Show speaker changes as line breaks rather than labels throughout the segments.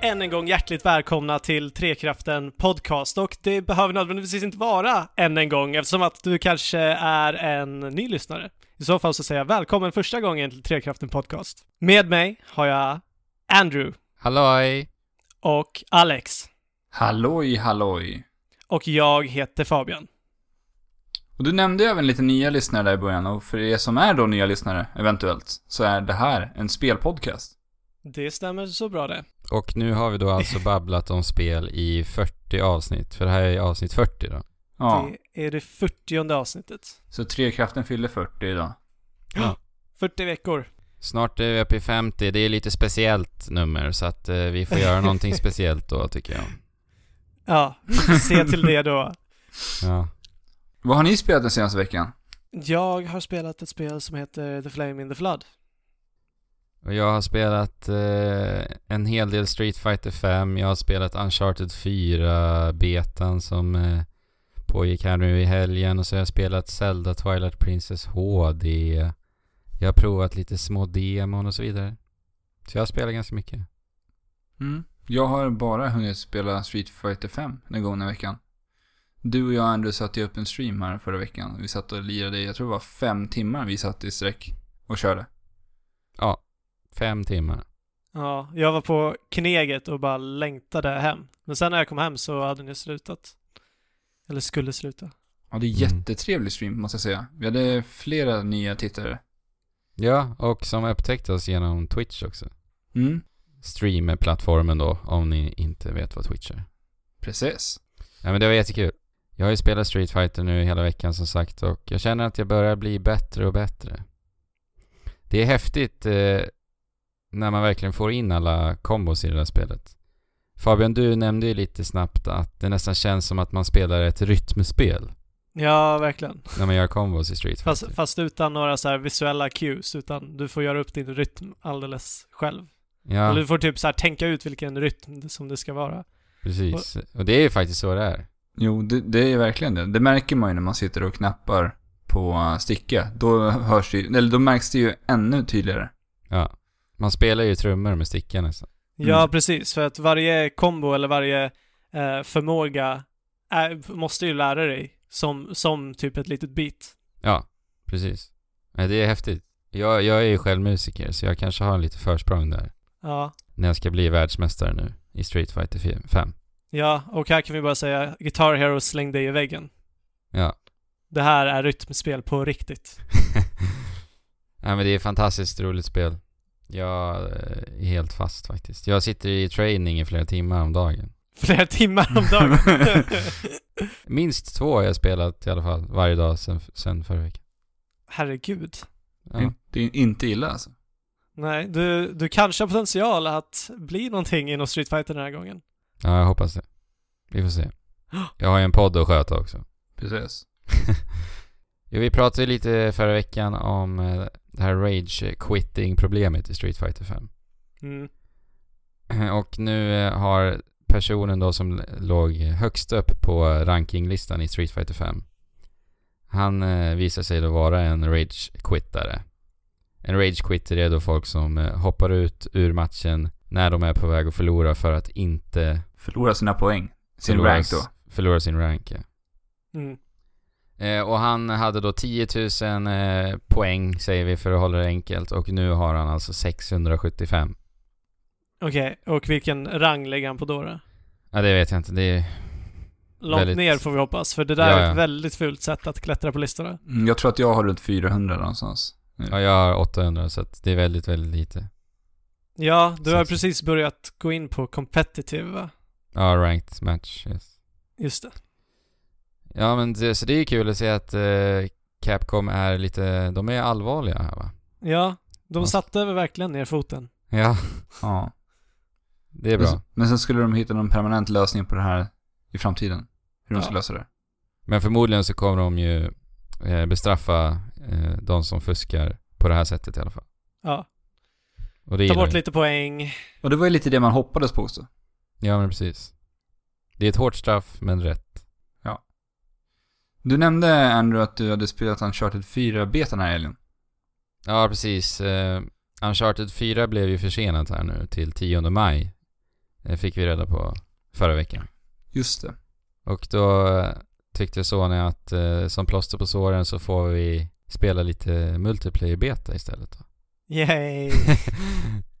än en gång hjärtligt välkomna till Trekraften Podcast och det behöver nödvändigtvis inte vara än en gång eftersom att du kanske är en ny lyssnare. I så fall så säger jag välkommen första gången till Trekraften Podcast. Med mig har jag Andrew
Halloj!
och Alex
Halloj, halloj!
och jag heter Fabian.
Och du nämnde ju även lite nya lyssnare där i början, och för er som är då nya lyssnare, eventuellt, så är det här en spelpodcast.
Det stämmer så bra det.
Och nu har vi då alltså babblat om spel i 40 avsnitt, för det här är avsnitt 40 då.
Ja,
Det är det 40 avsnittet.
så Trekraften fyller 40 idag.
40 veckor.
Snart är vi uppe i 50, det är lite speciellt nummer så att eh, vi får göra någonting speciellt då tycker jag.
Ja, se till det då.
Ja.
Vad har ni spelat den senaste veckan?
Jag har spelat ett spel som heter The Flame in the Flood.
Och jag har spelat eh, en hel del Street Fighter 5, jag har spelat Uncharted 4-betan som eh, pågick här nu i helgen och så har jag spelat Zelda Twilight Princess HD. Jag har provat lite små demon och så vidare. Så jag har spelat ganska mycket.
Jag har bara hunnit spela Street Fighter 5 den gångna veckan. Du och jag, Andrew, satte ju upp en stream här förra veckan. Vi satt och lirade i, jag tror det var fem timmar vi satt i sträck och körde.
Fem timmar.
Ja, jag var på Kneget och bara längtade hem. Men sen när jag kom hem så hade ni slutat. Eller skulle sluta.
Ja, det är
Mm.
jättetrevlig stream, måste jag säga. Vi hade flera nya tittare.
Ja, och som upptäckte oss genom Twitch också.
Mm,
Streamer-plattformen då, om ni inte vet vad Twitch är.
precis.
Ja men det var jättekul. Jag har ju spelat Street Fighter nu hela veckan som sagt och jag känner att jag börjar bli bättre och bättre. Det är häftigt eh, när man verkligen får in alla kombos i det där spelet. Fabian, du nämnde ju lite snabbt att det nästan känns som att man spelar ett rytmspel
Ja, verkligen.
när man gör kombos i Street Fighter.
Fast, fast utan några så här visuella cues, utan du får göra upp din rytm alldeles själv. Eller
Ja,
du får typ så här tänka ut vilken rytm det- som det ska vara.
precis. Och det är ju faktiskt så det är.
Jo, det, det är verkligen det. Det märker man ju när man sitter och knappar på eh, sticka. Då hörs det ju, eller då märks det ju ännu tydligare.
Ja. Man spelar ju trummor med stickan nästan.
Ja,
Mm.
precis. För att varje kombo eller varje eh, förmåga är, måste ju lära dig som, som typ ett litet bit.
Ja, precis. Nej, det är häftigt. Jag, jag är ju själv musiker, så jag kanske har en lite försprång där.
Ja.
När jag ska bli världsmästare nu i Street Fighter 5.
Ja, och här kan vi bara säga Guitar Hero släng dig i väggen.
Ja.
Det här är rytmspel på riktigt.
Nej, men det är ett fantastiskt roligt spel. Jag eh, är helt fast faktiskt. Jag sitter i training i flera timmar om dagen.
Flera timmar om dagen.
Minst två har jag spelat i alla fall varje dag sen, sen förra veckan.
Herregud.
Ja.
Det är inte illa alltså.
Nej, du, du kanske har potential att bli någonting inom Street Fighter den här gången.
ja, jag hoppas det. Vi får se. Jag har ju en podd att sköta också.
Precis.
Jo, vi pratade ju lite förra veckan om eh, det här rage quitting problemet i Street Fighter 5.
Mm.
Och nu eh, har personen då som l- låg högst upp på rankinglistan i Street Fighter 5. Han eh, visar sig då vara en rage quittare. En rage quitter är då folk som eh, hoppar ut ur matchen när de är på väg att förlora för att inte
Förlora sina poäng. Sin
förlora
rank
s-
då.
förlora sin rank. ja.
Mm.
Eh, och han hade då 10 000 eh, poäng säger vi för att hålla det enkelt och nu har han alltså 675.
Okej, och vilken rang lägger han på då? då?
Ja det vet jag inte, det är...
Långt
Väldigt-
ner får vi hoppas, för det där
Ja,
är
ja.
ett väldigt fult sätt att klättra på listorna.
Mm, Jag tror att jag har runt 400 någonstans.
Ja jag har 800 så att det är väldigt, väldigt lite.
Ja, du har
Precis.
precis börjat gå in på competitive, va?
Ja, ranked match, yes.
Just det.
Ja men det, så det är kul att se att eh, Capcom är lite, de är allvarliga här va?
Ja, de
Ja.
satte verkligen ner foten.
Ja,
Ja.
det är
Mm.
bra.
Men, men sen skulle de hitta någon permanent lösning på det här i framtiden. Hur de ska
Ja.
lösa det.
Men förmodligen så kommer de ju eh, bestraffa eh, de som fuskar på det här sättet i alla fall.
Ja,
Och
ta
det gillar
bort
vi.
lite poäng.
Och det var ju lite det man hoppades på också.
Ja men precis. Det är ett hårt straff men rätt.
Du nämnde Andrew att du hade spelat Uncharted 4-betan här i helgen.
Ja precis. Eh, Uncharted 4 blev ju försenat här nu till 10 maj. Eh, Fick vi reda på förra veckan.
Just det.
Och då eh, tyckte Sony att eh, som plåster på såren så får vi spela lite multiplayer beta istället. Då.
Yay!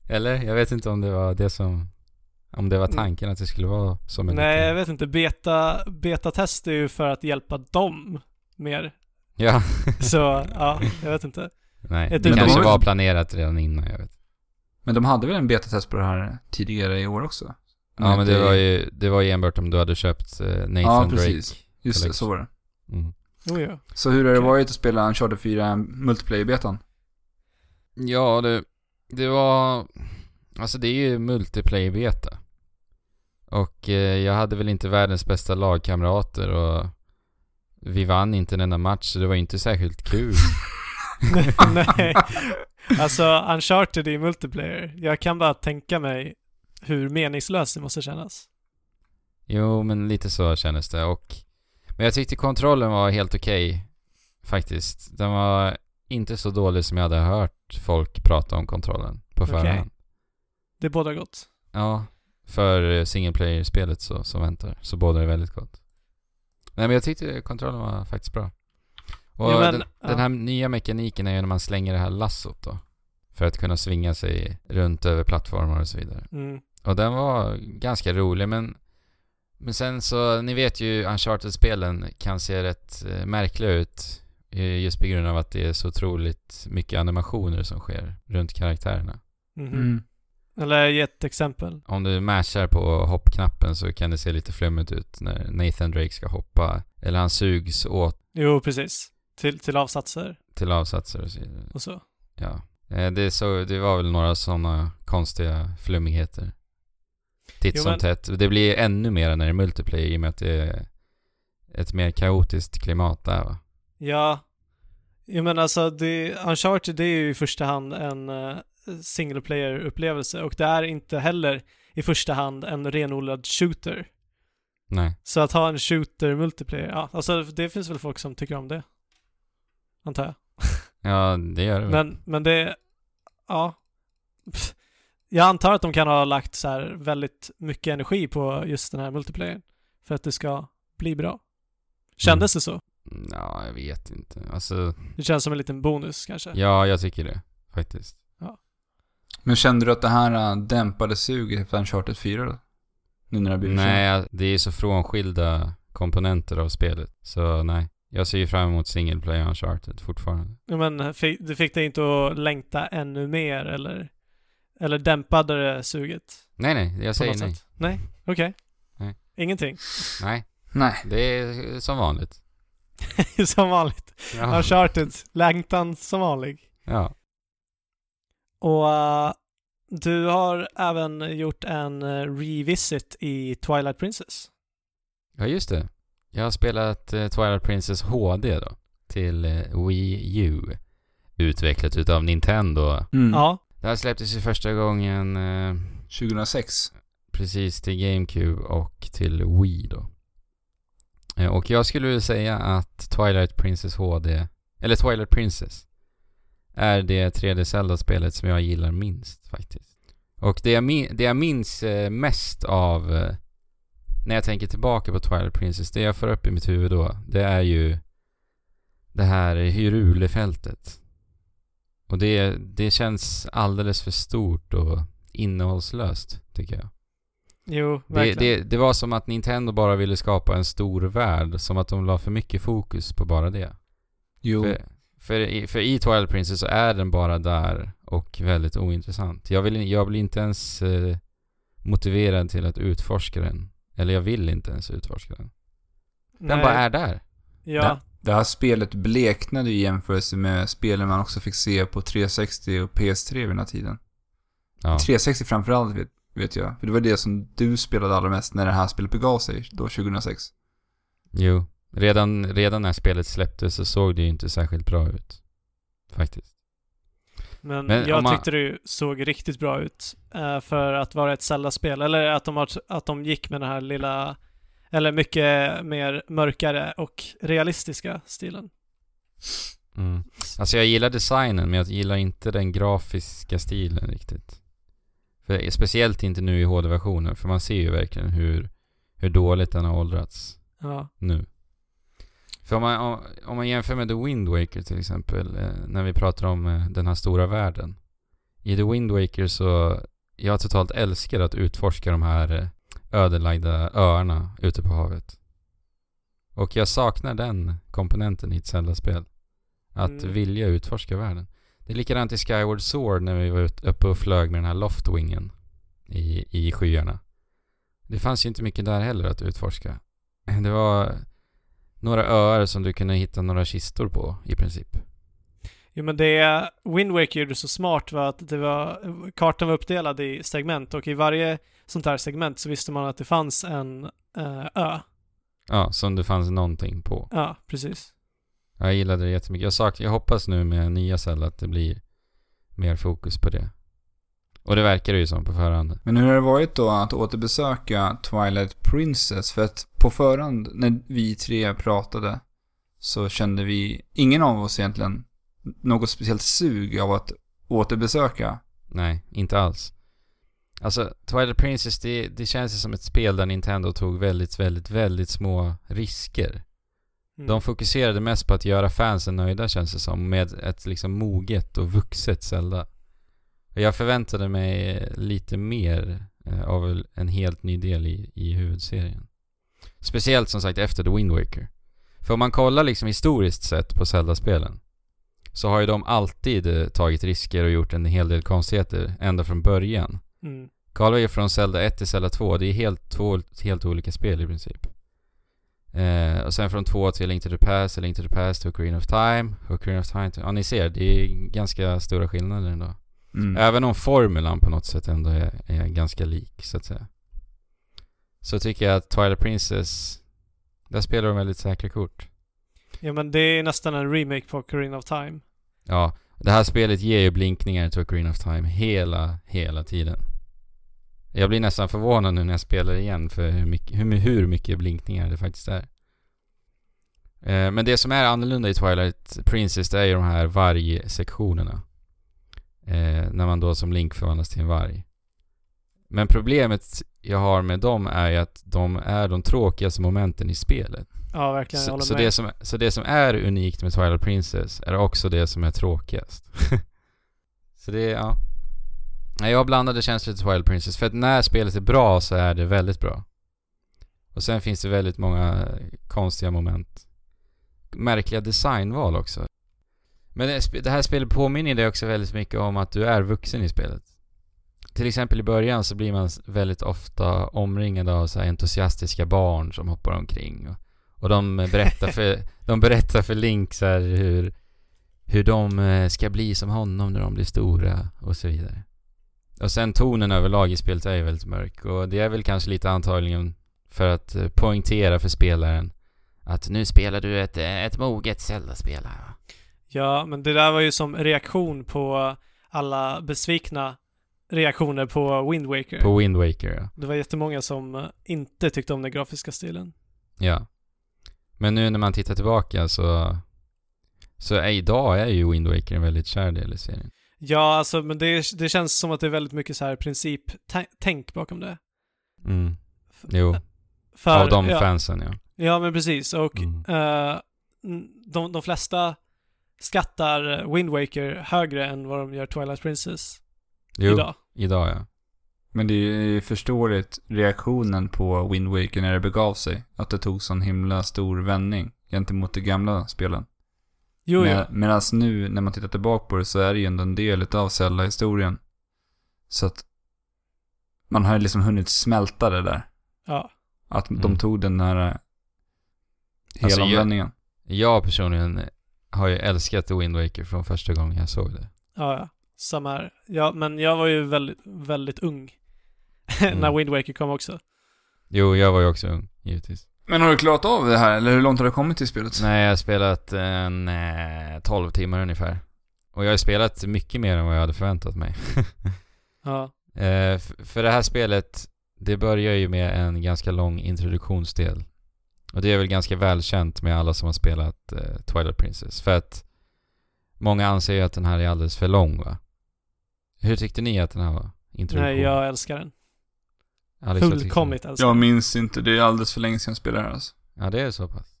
Eller? Jag vet inte om det var det som... Om det var
Mm.
tanken att det skulle vara som en
Nej, jag
liten-
vet inte. Beta, betatest är ju för att hjälpa dem mer.
Ja.
Så, ja, jag vet inte.
Nej,
Ett
det
uttryck.
kanske
Men-
var planerat redan innan, jag vet.
Men de hade väl en betatest på det här tidigare i år också?
Ja, men det var ju, det var ju enbart om du hade köpt eh, Nathan
Ja,
Drake.
precis. Just det, så var det.
Mm.
Oh, ja.
Så hur har det
Okej.
varit att spela Uncharted 4 multiplayer-betan?
Ja, det, det var... Alltså det är ju multiplayer-beta. Och eh, jag hade väl inte världens bästa lagkamrater och vi vann inte en enda match så det var ju inte särskilt kul.
Nej. Alltså, Uncharted i multiplayer. Jag kan bara tänka mig hur meningslöst det måste kännas.
jo, men lite så kändes det och... Men jag tyckte kontrollen var helt okej faktiskt. Den var inte så dålig som jag hade hört folk prata om kontrollen på
Okej.
förhand.
Det är båda gott.
Ja, för eh, single player-spelet så, som väntar. Så båda är väldigt gott. Nej men jag tyckte kontrollen var faktiskt bra. Och
Jo, men-
den,
ja.
den här nya mekaniken är ju när man slänger det här lassot då. För att kunna svinga sig runt över plattformar och så vidare.
Mm.
Och den var ganska rolig men Men sen så, ni vet ju Uncharted-spelen kan se rätt eh, märkliga ut. eh, Just på grund av att det är så otroligt mycket animationer som sker runt karaktärerna.
Mhm.
Mm.
Eller ge ett exempel.
Om du mashar på hoppknappen så kan det se lite flummigt ut när Nathan Drake ska hoppa. Eller han sugs åt
Jo, precis. Till, till avsatser
till avsatser och så vidare.
och så.
Ja. Eh, Det, så, det var väl några sådana konstiga flummigheter. Titt
Jo,
som
men-
tätt. Och Det blir ännu mer när det är multiplayer i och med att det är ett mer kaotiskt klimat där va.
Ja. Jag menar alltså, det, Uncharted det är ju i första hand en eh, single player-upplevelse och det är inte heller i första hand en renodlad shooter.
Nej.
Så att ha en shooter multiplayer, ja, alltså det finns väl folk som tycker om det. Antar jag.
Ja, det gör det väl.
Men, men det, ja. Pff. Jag antar att de kan ha lagt så här väldigt mycket energi på just den här multiplayern för att det ska bli bra. Kändes det så?
Ja, jag vet inte. Alltså,
Det känns som en liten bonus kanske.
ja, jag tycker det. Faktiskt.
Men kände du att det här äh, dämpade suget efter Uncharted 4 då? Nu när det har blivit känt.
Nej, det är så frånskilda komponenter av spelet. Så nej. Jag ser ju fram emot single player uncharted fortfarande.
Ja, Men fick, det fick dig inte att längta ännu mer eller, eller dämpade det suget?
Nej, nej.
På
Jag säger
något
nej.
sätt? Nej, okej.
Nej.
Ingenting.
Nej,
Nej.
det är som vanligt.
som vanligt.
Ja.
Uncharted, längtan som vanlig.
ja.
Och eh, du har även gjort en eh, revisit i Twilight Princess.
ja, just det. Jag har spelat eh, Twilight Princess HD då. Till eh, Wii U. Utvecklat utav Nintendo.
Mm.
Ja,
Det här släpptes ju första gången eh,
2006.
precis till GameCube och till Wii då. Eh, Och jag skulle vilja säga att Twilight Princess HD, eller Twilight Princess, är det 3D Zelda-spelet som jag gillar minst faktiskt. Och det jag, min- det jag minns eh, mest av eh, när jag tänker tillbaka på Twilight Princess, det jag får upp i mitt huvud då, det är ju det här Hyrule-fältet. Och det, det känns alldeles för stort och innehållslöst, tycker jag.
jo,
Det,
verkligen.
det, det var som att Nintendo bara ville skapa en stor värld, som att de la för mycket fokus på bara det.
Jo.
För, för, i, för i Twilight Princess så är den bara där och väldigt ointressant. Jag, vill, jag blir inte ens eh, motiverad till att utforska den. Eller jag vill inte ens utforska den. Den bara är där.
Ja,
Det här spelet bleknade i jämförelse med spelen man också fick se på 360 och PS3 vid den här tiden.
Ja,
360 framförallt vet, vet jag. För det var det som du spelade allra mest när det här spelet begav sig då 2006.
jo. Redan, redan när spelet släpptes så såg det ju inte särskilt bra ut. Faktiskt.
men,
Men om
jag
man-
tyckte det ju såg riktigt bra ut eh, för att vara ett Zelda-spel. Eller att de, har, att de gick med den här lilla, eller mycket mer mörkare och realistiska stilen.
Mm. Alltså jag gillar designen men jag gillar inte den grafiska stilen riktigt. För speciellt inte nu i HD-versionen, för man ser ju verkligen hur, hur dåligt den har åldrats
Ja.
nu. För om man, om- om man jämför med The Wind Waker till exempel, eh, när vi pratar om eh, den här stora världen. I The Wind Waker så, jag totalt älskar att utforska de här eh, ödelagda öarna ute på havet. Och jag saknar den komponenten i ett Zelda-spel. Att
Mm.
vilja utforska världen. Det är likadant i Skyward Sword när vi var ut- uppe och flög med den här loftwingen i, i skyarna. Det fanns ju inte mycket där heller att utforska. Det var några öar som du kunde hitta några kistor på i princip.
Jo men det Wind Waker gjorde så smart var att det var, kartan var uppdelad i segment och i varje sånt här segment så visste man att det fanns en eh, ö.
Ja, som det fanns någonting på.
Ja, precis.
Ja, Jag gillade det jättemycket. Jag, sak, jag hoppas nu med nya Zelda att det blir mer fokus på det. Och det verkar det ju som på förhand.
Men hur har det varit då att återbesöka Twilight Princess? För att på förhand, när vi tre pratade, så kände vi, ingen av oss egentligen, något speciellt sug av att återbesöka.
Nej, inte alls. Alltså, Twilight Princess, det, det känns ju som ett spel där Nintendo tog väldigt, väldigt, väldigt små risker.
Mm.
De fokuserade mest på att göra fansen nöjda känns det som, med ett liksom moget och vuxet Zelda. Och Jag förväntade mig eh, lite mer eh, av en helt ny del i, i huvudserien. Speciellt som sagt efter The Wind Waker. För om man kollar liksom historiskt sett på Zelda-spelen så har ju de alltid eh, tagit risker och gjort en hel del konstigheter ända från början.
Mm.
Kollar vi från Zelda 1 till Zelda 2, det är helt två helt olika spel i princip. Eh, och sen från 2 till Link to the Past, till Link to the Past, till Ocarina of Time, Ocarina of Time till... Ja, ni ser, det är ganska stora skillnader ändå.
Mm.
Även om formulan på något sätt ändå är, är ganska lik, så att säga. Så tycker jag att Twilight Princess, där spelar de väldigt säkra kort.
Ja men det är nästan en remake på Ocarina of Time.
Ja, det här spelet ger ju blinkningar till Ocarina of Time hela, hela tiden. Jag blir nästan förvånad nu när jag spelar igen för hur mycket, hur, hur mycket blinkningar det faktiskt är. Eh, Men det som är annorlunda i Twilight Princess det är ju de här vargsektionerna. Eh, När man då som Link förvandlas till en varg. Men problemet jag har med dem är ju att de är de tråkigaste momenten i spelet.
Ja verkligen, jag
Så,
håller
så,
med.
det som, så det som är unikt med Twilight Princess är också det som är tråkigast. så det, ja. Nej, jag har blandade känslor till Twilight Princess. För att när spelet är bra så är det väldigt bra. Och sen finns det väldigt många konstiga moment. Märkliga designval också. Men det, sp- det här spelet påminner dig också väldigt mycket om att du är vuxen i spelet. Till exempel i början så blir man s- väldigt ofta omringad av så här entusiastiska barn som hoppar omkring. Och, och de eh, berättar för, de berättar för Link så här hur, hur de eh, ska bli som honom när de blir stora och så vidare. Och sen tonen överlag i spelet är ju väldigt mörk och det är väl kanske lite antagligen för att eh, poängtera för spelaren att nu spelar du ett, eh, ett moget Zelda-spel här va?
Ja, men det där var ju som reaktion på alla besvikna reaktioner på Wind Waker.
På Wind Waker ja.
Det var jättemånga som eh, inte tyckte om den grafiska stilen.
Ja. Men nu när man tittar tillbaka så... Så är, idag är ju Wind Waker en väldigt kär del i serien.
Ja, alltså, men det, det känns som att det är väldigt mycket så här principtänk bakom det.
Mm. Jo,
För,
av de
ja,
fansen ja.
Ja, men precis. Och
Mm.
eh, n- de, de flesta skattar Wind Waker högre än vad de gör Twilight Princess
Jo, idag,
idag.
ja.
Men det är ju förståeligt reaktionen på Wind Waker när det begav sig. Att det tog sån himla stor vändning gentemot de gamla spelen.
Jo,
Med,
ja.
Medan nu när man tittar tillbaka på det så är det ju ändå en del av Zelda-historien. Så att man har ju liksom hunnit smälta det där.
ja.
Att
Mm.
de tog den här eh,
Alltså,
helomvändningen.
Jag personligen har ju älskat The Wind Waker från första gången jag såg det.
Ja, ja. Samma här. Ja, men jag var ju väldigt, väldigt ung när
Mm.
Wind Waker kom också.
Jo, jag var ju också ung, givetvis.
Men har du klarat av det här, eller hur långt har du kommit i spelet?
Nej, jag har spelat en eh, 12 timmar ungefär. Och jag har spelat mycket mer än vad jag hade förväntat mig.
Ja,
Eh, f- för det här spelet, det börjar ju med en ganska lång introduktionsdel. Och det är väl ganska välkänt med alla som har spelat eh, Twilight Princess. För att många anser ju att den här är alldeles för lång va? Hur tyckte ni att den här var? Introduktion.
Nej, jag älskar den.
Alex, jag tyckte-
Fullkomligt älskar
Jag
den.
minns inte, det är alldeles för länge sedan jag spelade det här, alltså.
Ja, det är så pass.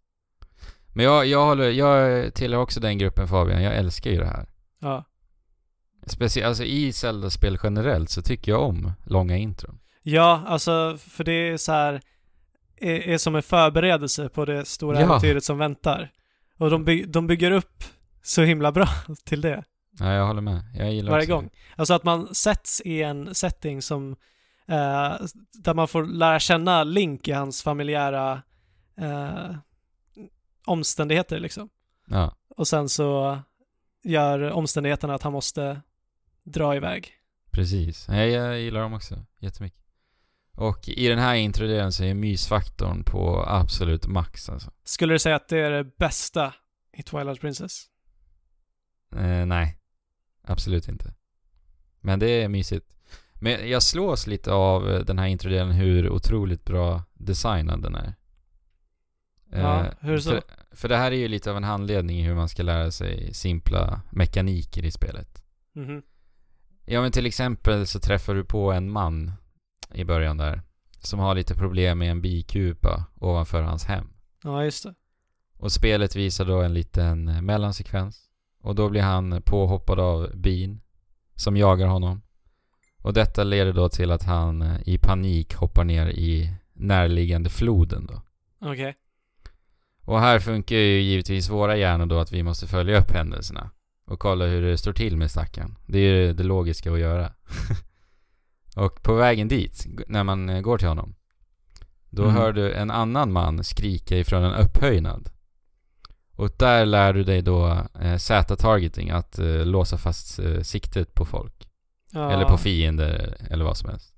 Men jag, jag, håller, jag tillhör också den gruppen Fabian, jag älskar ju det här.
Ja.
Speciellt alltså, i Zelda-spel generellt så tycker jag om långa intron.
ja, alltså för det är så här, är, är som en förberedelse på det stora
Ja.
äventyret som väntar. Och de, by, de bygger upp så himla bra till det.
Ja, jag håller med. Jag gillar
varje
också
gång. Alltså att man sätts i en setting som eh, där man får lära känna Link i hans familjära eh, omständigheter liksom.
Det. Ja.
Och sen så gör omständigheterna att han måste dra iväg.
Precis. Nej, jag gillar dem också jättemycket. Och i den här introdelen så är mysfaktorn på absolut max alltså.
Skulle du säga att det är det bästa i Twilight Princess?
Eh, nej, absolut inte. Men det är mysigt. Men jag slås lite av eh, den här introdelen hur otroligt bra designad den är.
ja,
Eh,
hur så?
För, för det här är ju lite av en handledning i hur man ska lära sig simpla mekaniker i spelet.
Mhm.
Ja men till exempel så träffar du på en man i början där som har lite problem med en bikupa ovanför hans hem.
Ja, just det.
Och spelet visar då en liten eh, mellansekvens. Och då blir han påhoppad av bin som jagar honom. Och detta leder då till att han eh, i panik hoppar ner i närliggande floden då.
Okej.
Och här funkar ju givetvis våra hjärnor då att vi måste följa upp händelserna och kolla hur det står till med stackaren. Det är ju det logiska att göra. och på vägen dit, g- när man eh, går till honom, då
Mm.
hör du en annan man skrika ifrån en upphöjnad. Och där lär du dig då eh, Z-targeting, att eh, låsa fast eh, siktet på folk.
Ja.
Eller på fiender eller vad som helst.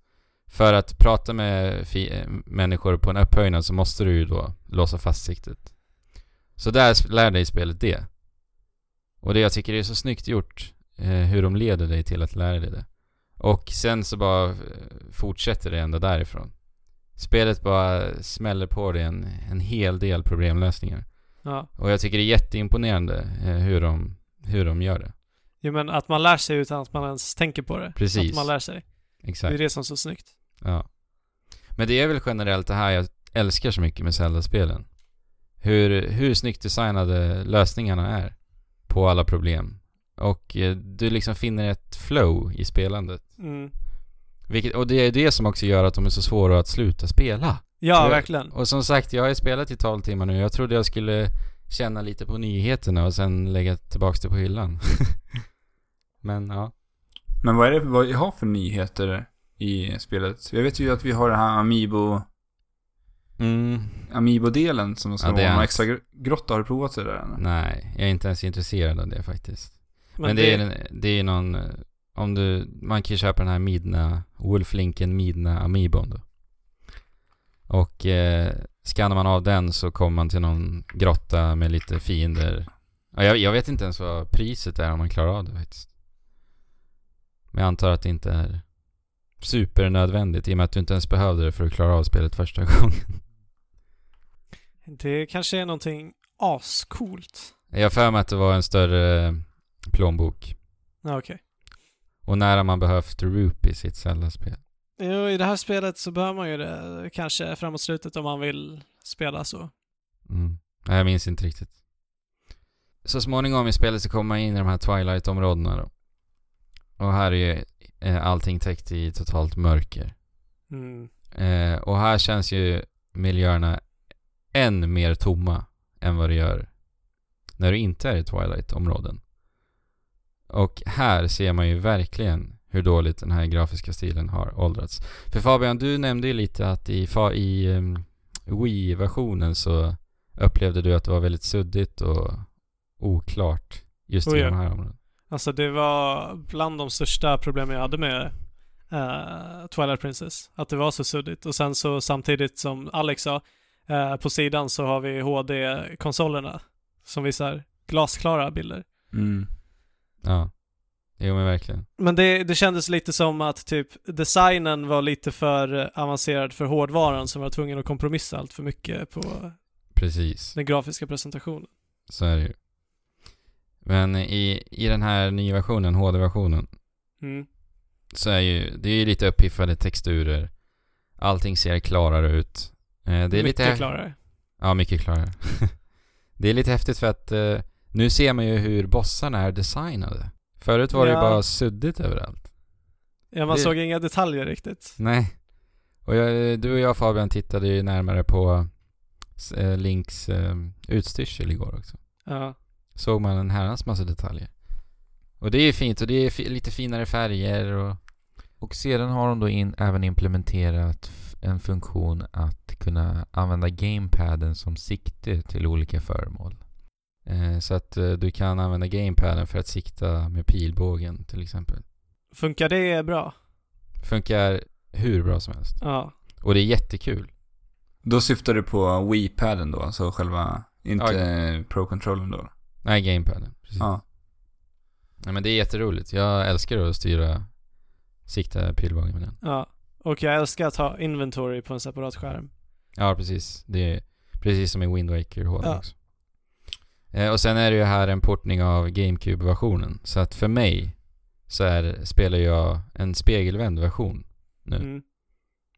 För att prata med fi- eh, människor på en upphöjnad så måste du ju då låsa fast siktet. Så där sp- lär dig spelet det. Och det jag tycker är så snyggt gjort, eh, hur de leder dig till att lära dig det. Och sen så bara eh, fortsätter det ända därifrån. Spelet bara smäller på dig en, en hel del problemlösningar.
Ja.
Och jag tycker det är jätteimponerande eh, hur de, hur de gör det.
Jo, men att man lär sig utan att man ens tänker på det.
Precis.
Att man lär sig.
Exakt.
Det är det som är så snyggt.
Ja. Men det är väl generellt det här jag älskar så mycket med Zelda-spelen. Hur, hur snyggt designade lösningarna är på alla problem. Och eh, du liksom finner ett flow i spelandet.
Mm.
Vilket, och det är det som också gör att de är så svåra att sluta spela.
Ja,
Det-
verkligen.
Och som sagt, jag har ju spelat i 12 timmar nu. Jag trodde jag skulle känna lite på nyheterna och sen lägga tillbaka det på hyllan. Men ja.
Men vad är det vad jag har för nyheter i spelet? Jag vet ju att vi har den här Amiibo,
Mm,
Amiibo-delen som de ska
Ja, det är
vara någon
en-
extra gr- grotta. Har du provat det där? eller?
nej, jag är inte ens intresserad av det faktiskt.
Men
Men, det, är, det är någon, eh, om du, man kan ju köpa den här Midna, Wolflinken Midna Amiibon då. Och eh, skannar man av den så kommer man till någon grotta med lite fiender. Ja, jag, jag vet inte ens vad priset är om man klarar av det faktiskt. Men jag antar att det inte är supernödvändigt i och med att du inte ens behövde det för att klara av spelet första gången.
Det kanske är någonting ascoolt.
Jag har för mig att det var en större eh, plånbok.
Ja, okej.
Och när har man behövt rupees i ett Zelda-spel?
Jo, i det här spelet så behöver man ju det kanske framåt slutet om man vill spela så.
Mm. Nej, jag minns inte riktigt. Så småningom i spelet så kommer man in i de här Twilight-områdena då. Och här är ju eh, allting täckt i totalt mörker.
Mm.
Eh, och här känns ju miljöerna än mer tomma än vad det gör när du inte är i Twilight-områden. Och här ser man ju verkligen hur dåligt den här grafiska stilen har åldrats. För Fabian, du nämnde ju lite att i, fa- i ehm, Wii-versionen så upplevde du att det var väldigt suddigt och oklart just
Oh
i
ja.
de här områdena.
Alltså det var bland de största problemen jag hade med eh, Twilight Princess. Att det var så suddigt. Och sen så samtidigt som Alex sa, eh, på sidan så har vi HD-konsolerna som visar glasklara bilder.
Mm.
Ja. Jo men verkligen.
Men det, det kändes lite som att typ designen var lite för eh, avancerad för hårdvaran som var tvungen att kompromissa allt för mycket på
Precis.
den grafiska presentationen.
Så är det ju. Men i, i den här nya versionen, HD-versionen,
Mm.
så är ju, det är ju lite uppiffade texturer. Allting ser klarare ut. Eh, Det är
Mycket
lite häf-
klarare.
Ja, mycket klarare. det är lite häftigt för att eh, nu ser man ju hur bossarna är designade. Förut var det
Ja.
ju bara suddigt överallt.
Ja, man
Det-
såg inga detaljer riktigt.
Nej. Och jag, du och jag Fabian tittade ju närmare på eh, Links eh, utstyrsel igår också.
Ja.
Såg man en herrans massa detaljer. Och det är ju fint och det är fi- lite finare färger och...
Och sedan har de då in, även implementerat f- en funktion att kunna använda gamepaden som sikte till olika föremål.
Eh, så att eh, du kan använda gamepaden för att sikta med pilbågen till exempel.
Funkar det bra?
Funkar hur bra som helst.
Ja.
Och det är jättekul.
Då syftar du på Wii-paden då, alltså själva, inte
Ja.
eh, Pro-controllen då?
Nej, gamepaden. Precis.
Ja.
Nej men det är jätteroligt. Jag älskar att styra, sikta pilbågen med den.
ja. Och jag älskar att ha inventory på en separat skärm.
Ja precis. Det är precis som i Wind Waker HD
Ja.
också. Eh, och sen är det ju här en portning av GameCube-versionen. Så att för mig så är, spelar jag en spegelvänd version. Nu.
Mm.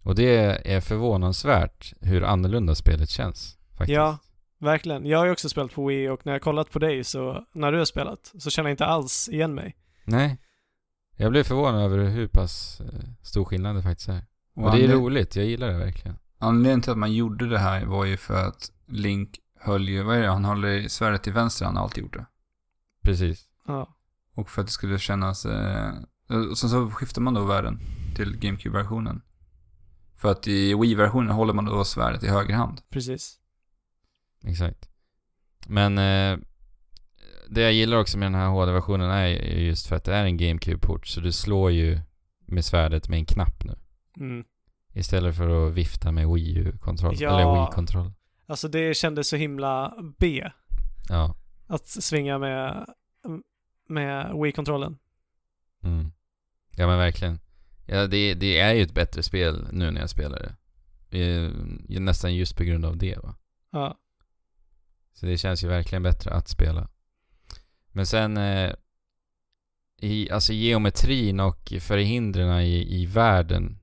Och det är förvånansvärt hur annorlunda spelet känns. Faktiskt.
Ja. Verkligen. Jag har ju också spelat på Wii och när jag kollat på dig så, när du har spelat, så känner jag inte alls igen mig.
Nej. Jag blev förvånad över hur pass eh, stor skillnad det faktiskt är.
Och
Och det är
anled-
roligt. Jag gillar det verkligen.
Anledningen till att man gjorde det här var ju för att Link höll ju, vad är det, han håller svärdet till vänster, han har alltid gjort det.
Precis.
Ja.
Och för att det skulle kännas... Eh, och sen så skiftar man då världen till GameCube-versionen. För att i Wii-versionen håller man då svärdet i höger hand.
Precis.
Exakt. Men eh, det jag gillar också med den här HD-versionen är ju just för att det är en GameCube-port. Så du slår ju med svärdet med en knapp nu.
Mm.
Istället för att vifta med Wii U-kontroll.
Ja.
Eller Wii-kontroll.
Alltså det kändes så himla B
Ja.
att svinga med, med Wii-kontrollen.
Mm. Ja men verkligen. Ja, det, det är ju ett bättre spel nu när jag spelar det. Eh, nästan just på grund av det va.
Ja.
Så det känns ju verkligen bättre att spela. Men sen, eh, i, alltså geometrin och förhindren i, i världen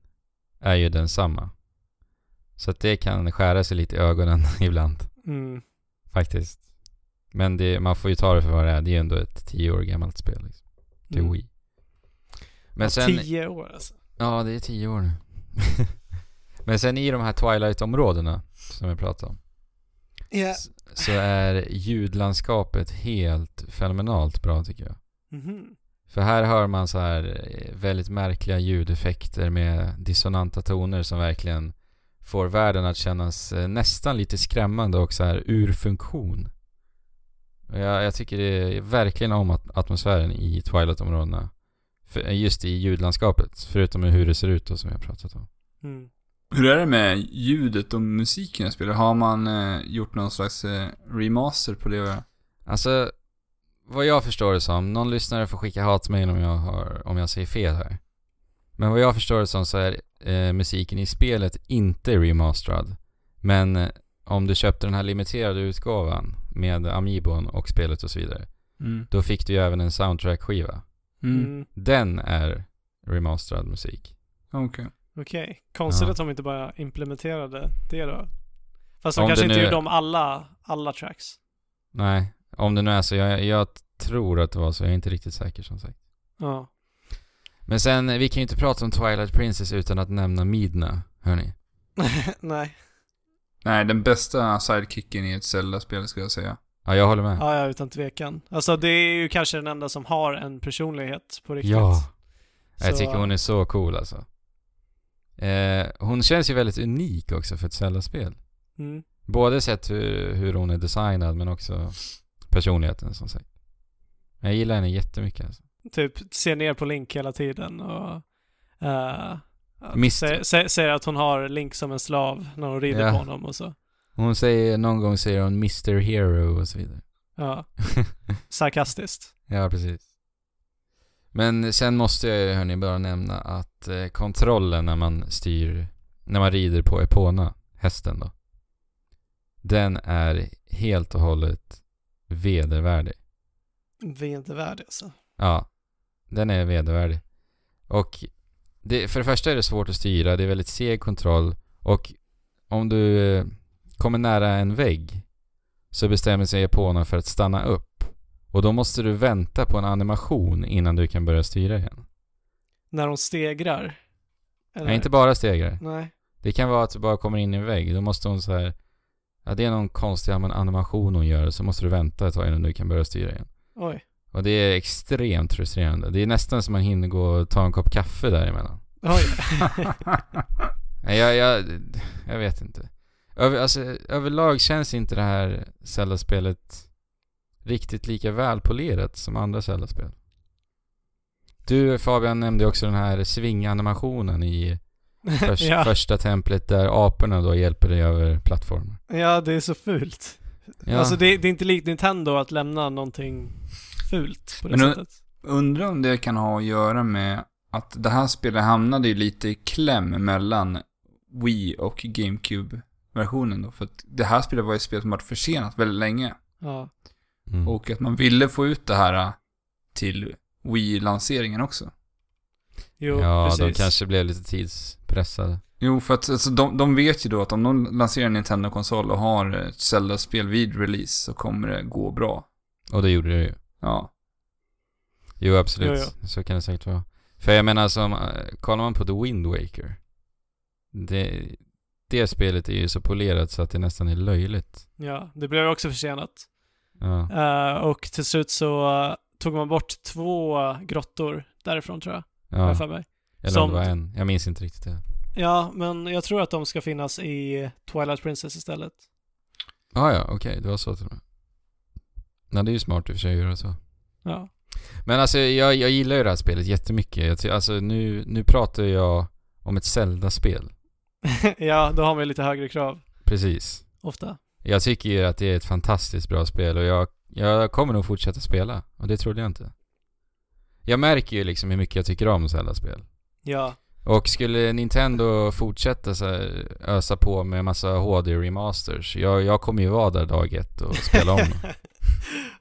är ju densamma. Så att det kan skära sig lite i ögonen ibland
Mm.
faktiskt. Men det, man får ju ta det för vad det är. Det är ju ändå ett tio år gammalt spel. Liksom. Det är
Mm.
Wii. Men
Och
sen,
Tio år alltså.
ja det är tio år nu. Men sen i de här Twilight-områdena som jag pratade om.
Yeah.
S- så är ljudlandskapet helt fenomenalt bra tycker jag.
Mhm.
För här hör man så här eh, väldigt märkliga ljudeffekter med dissonanta toner som verkligen får världen att kännas eh, nästan lite skrämmande och så här ur funktion. Och jag, jag tycker det är verkligen om att atmosfären i Twilight-områdena. För- eh, Just i ljudlandskapet, förutom hur det ser ut då som jag pratat om.
Mm.
Hur är det med ljudet och musiken jag spelar? Har man eh, gjort någon slags eh, remaster på det?
Alltså, vad jag förstår det som, någon lyssnare får skicka hat till mig om jag, har, om jag säger fel här. Men vad jag förstår det som så är eh, musiken i spelet inte remasterad. Men eh, om du köpte den här limiterade utgåvan med Amiibon och spelet och så vidare,
Mm.
då fick du ju även en soundtrack-skiva.
Mm.
Mm.
Den är remasterad musik.
Okej.
Okej. Konstigt
Ja.
att de inte bara implementerade det då. Fast de
Om
kanske
det
inte
nu-
gjorde om alla, alla tracks.
Nej, om det nu är så. Jag, jag tror att det var så. Jag är inte riktigt säker som sagt.
Ja.
Men sen, vi kan ju inte prata om Twilight Princess utan att nämna Midna, hörni.
Nej.
Nej, den bästa sidekicken i ett Zelda-spel skulle jag säga.
Ja, jag håller med.
Ja, ja, utan tvekan. Alltså det är ju kanske den enda som har en personlighet på riktigt.
Ja. Jag
Så-
tycker hon är så cool alltså. Eh, hon känns ju väldigt unik också för ett Zelda-spel.
Mm.
Både sett hur, hur hon är designad men också personligheten som sagt. Jag gillar henne jättemycket alltså.
typ ser ner på Link hela tiden och eh, att
Mist-
sä, sä, säger att hon har Link som en slav när hon rider
Ja.
på honom och så.
Hon säger, någon gång säger hon Mr. Hero och så vidare.
Ja, sarkastiskt.
Ja, precis. Men sen måste jag ju hörni bara nämna att eh, kontrollen när man styr, när man rider på Epona, hästen då. Den är helt och hållet vedervärdig.
Vi är inte värdiga alltså.
Ja, den är vedervärdig. Och det, för det första är det svårt att styra, det är väldigt seg kontroll och om du eh, kommer nära en vägg så bestämmer sig japanerna för att stanna upp och då måste du vänta på en animation innan du kan börja styra igen.
När de stegrar? Eller?
Nej, inte bara stegrar.
Nej.
Det kan vara att du bara kommer in i en vägg, då måste hon så här Ja, det är någon konstig ja, men animation hon gör, så måste du vänta ett tag innan du kan börja styra igen.
Oj.
Och det är extremt frustrerande. Det är nästan som man hinner gå och ta en kopp kaffe däremellan.
Oj.
Nej, Jag, jag, jag vet inte. Över, alltså, överlag känns inte det här Zelda-spelet riktigt lika välpolerat som andra Zelda-spel. Du Fabian nämnde också den här svinganimationen i förs-
ja.
första templet där aporna då hjälper dig över plattformen.
ja, det är så fult.
Ja,
Alltså det, det är inte likt Nintendo att lämna någonting fult på det
Men nu-
sättet.
Undrar om det kan ha att göra med att det här spelet hamnade ju lite i kläm mellan Wii och GameCube-versionen då. För att det här spelet var ju ett spel som varit försenat väldigt länge.
Ja.
mm.
Och att man ville få ut det här äh, till Wii-lanseringen också.
Jo,
ja
precis.
de kanske blev lite tidspressade.
Jo, för att alltså, de, de vet ju då att om de lanserar en Nintendo-konsol och har ett Zelda-spel vid release så kommer det gå bra.
Och det gjorde det ju.
Ja.
Jo, absolut.
Jo,
Så kan det säkert vara. För jag menar, som, eh, kollar man på The Wind Waker. Det, det spelet är ju så polerat så att det nästan är löjligt.
Ja, det blev också försenat.
Ja.
Eh, och till slut så eh, tog man bort två grottor därifrån tror jag. har jag
ja.
för mig.
Eller
Alltså, som-
om det var en. Jag minns inte riktigt det.
Ja, men jag tror att de ska finnas i Twilight Princess istället.
Ah, ja, okej. det var så till och med. Nej, det är ju smart i och för sig att göra så.
Ja.
Men alltså, jag, jag gillar ju det här spelet jättemycket. Jag, ty- alltså, nu, nu pratar jag om ett Zelda-spel.
ja, då har man ju lite högre krav
Precis.
ofta.
Jag tycker ju att det är ett fantastiskt bra spel och jag, jag kommer nog fortsätta spela. Och det trodde jag inte. Jag märker ju liksom hur mycket jag tycker om Zelda-spel.
Ja,
Och skulle Nintendo fortsätta så här, ösa på med massa HD-remasters, jag, jag kommer ju vara där dag ett och spela om.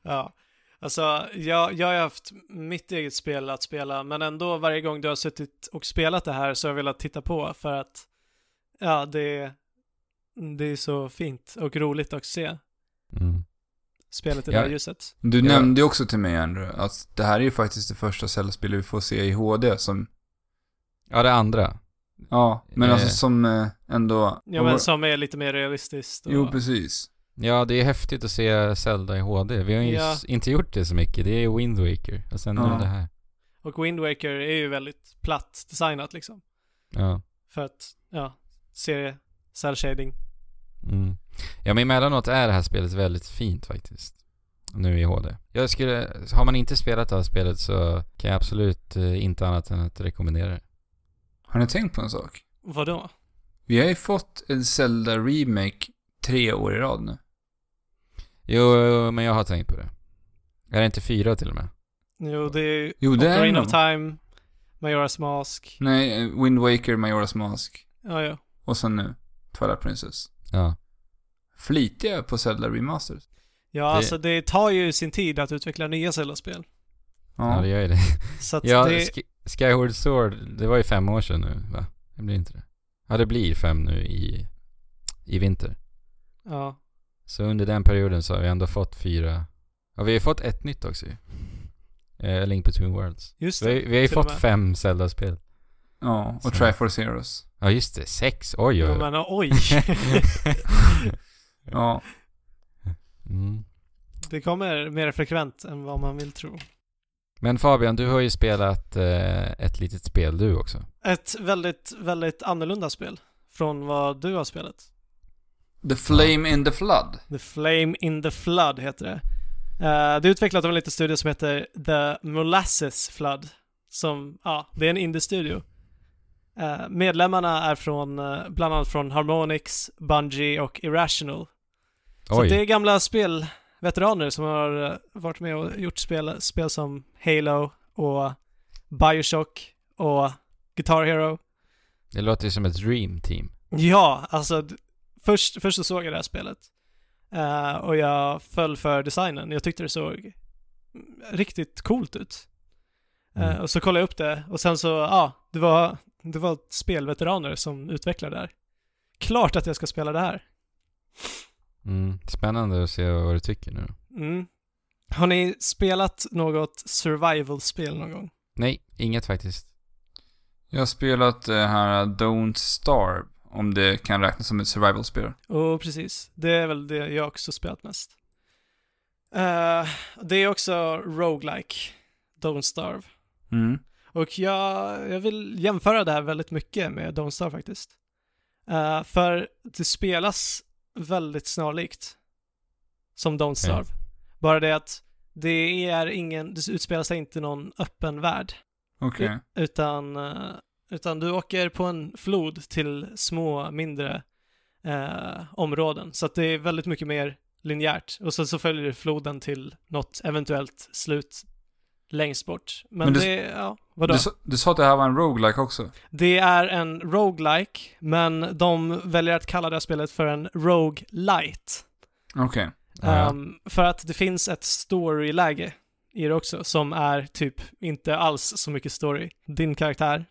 ja. Alltså, jag, jag har ju haft mitt eget spel att spela, men ändå varje gång du har suttit och spelat det här så har jag velat titta på för att ja, det, det är så fint och roligt att se
Mm.
spelet i
Ja.
det här ljuset.
Du
Ja.
nämnde ju också till mig, Andrew, att det här är ju faktiskt det första Zelda-spelet vi får se i HD som,
Ja, det andra.
ja, men
Eh.
alltså som eh, ändå...
Ja, men som är lite mer realistiskt. Och,
Jo, precis.
Ja, det är häftigt att se Zelda i HD. Vi har ju
Ja.
s- inte gjort det så mycket. Det är Wind Waker och sen
Ja.
nu det här.
och Wind Waker är ju väldigt platt designat liksom.
Ja.
För att, ja, serie, cell shading.
Mm. Ja men emellanåt är det här spelet väldigt fint faktiskt. Nu i HD. Jag skulle, har man inte spelat det här spelet så kan jag absolut eh, inte annat än att rekommendera det.
Har ni tänkt på en sak?
Vadå?
Vi har ju fått en Zelda-remake tre år i rad nu.
Jo, jo, men jag har tänkt på det. Är det inte fyra till och med?
Jo, det är ju
Jo, det är
Ocarina
nog.
of Time, Majoras Mask.
Nej, eh, Wind Waker, Majoras Mask
Ja, ja.
och sen nu Twilight Princess.
Ja.
Flitiga på Zelda Remasters.
Ja,
Det-
alltså det tar ju sin tid att utveckla nya Zelda-spel.
Ja, det gör ju det.
Så att
Ja,
det...
Sk- Skyward Sword, det var ju fem år sedan nu va? Det blir inte det? Ja, det blir fem nu i, i vinter.
Ja.
Så under den perioden så har vi ändå fått fyra. Ja, vi har ju fått ett nytt också ju. Eh, A Link Between Worlds.
Just
Vi, har
det.
ju- vi har ju
till och
fått
med.
fem Zelda-spel.
Ja,
Så.
och Triforce Heroes.
Ja just det, sex. Oj
Jo,
oj oj.
men oj.
Ja,
mm.
det kommer mer frekvent än vad man vill tro.
Men Fabian, du har ju spelat eh, ett litet spel du också.
Ett väldigt, väldigt annorlunda spel från vad du har spelat.
The Flame in the Flood.
The Flame in the Flood heter det. Eh, det är utvecklat av en liten studio som heter The Molasses Flood. Som, ja, det är en indie-studio. Eh, medlemmarna är från, eh, bland annat från Harmonix, Bungie och Irrational. Så
Oj.
att det är gamla spelveteraner som har eh, varit med och gjort spel, spel som Halo och Bioshock och Guitar Hero.
Det låter ju som ett dream team.
Ja, alltså d- först, först så såg jag det här spelet eh, och jag föll för designen. Jag tyckte det såg riktigt coolt ut. Eh,
Mm.
och så kollade jag upp det och sen så, ja, det var Det var spelveteraner som utvecklade det här. Klart att jag ska spela det här.
Mm. Spännande att se vad du tycker nu.
Mm. Har ni spelat något survival-spel någon gång?
Nej, inget faktiskt.
Jag har spelat eh, det här Don't Starve, om det kan räknas som ett survival-spel.
Och precis. Det är väl det jag också spelat mest. Eh, det är också roguelike, Don't Starve.
Mm.
Och jag, jag vill jämföra det här väldigt mycket med Don't Starve faktiskt. Eh, för det spelas väldigt snarlikt som Don't Starve. Bara det att det är ingen, det utspelar sig inte någon öppen värld.
Okej.
Utan, eh, utan du åker på en flod till små, mindre eh, områden. Så att det är väldigt mycket mer linjärt. Och sen så följer du floden till något eventuellt slut längst bort. Men,
Men du-
det, ja, vadå?
Du, sa- du sa att det här var en roguelike också?
Det är en roguelike, men de väljer att kalla det här spelet för en rogue light.
Okej.
Ja.
Ehm, för att det finns ett storyläge i det också, som är typ inte alls så mycket story. Din karaktär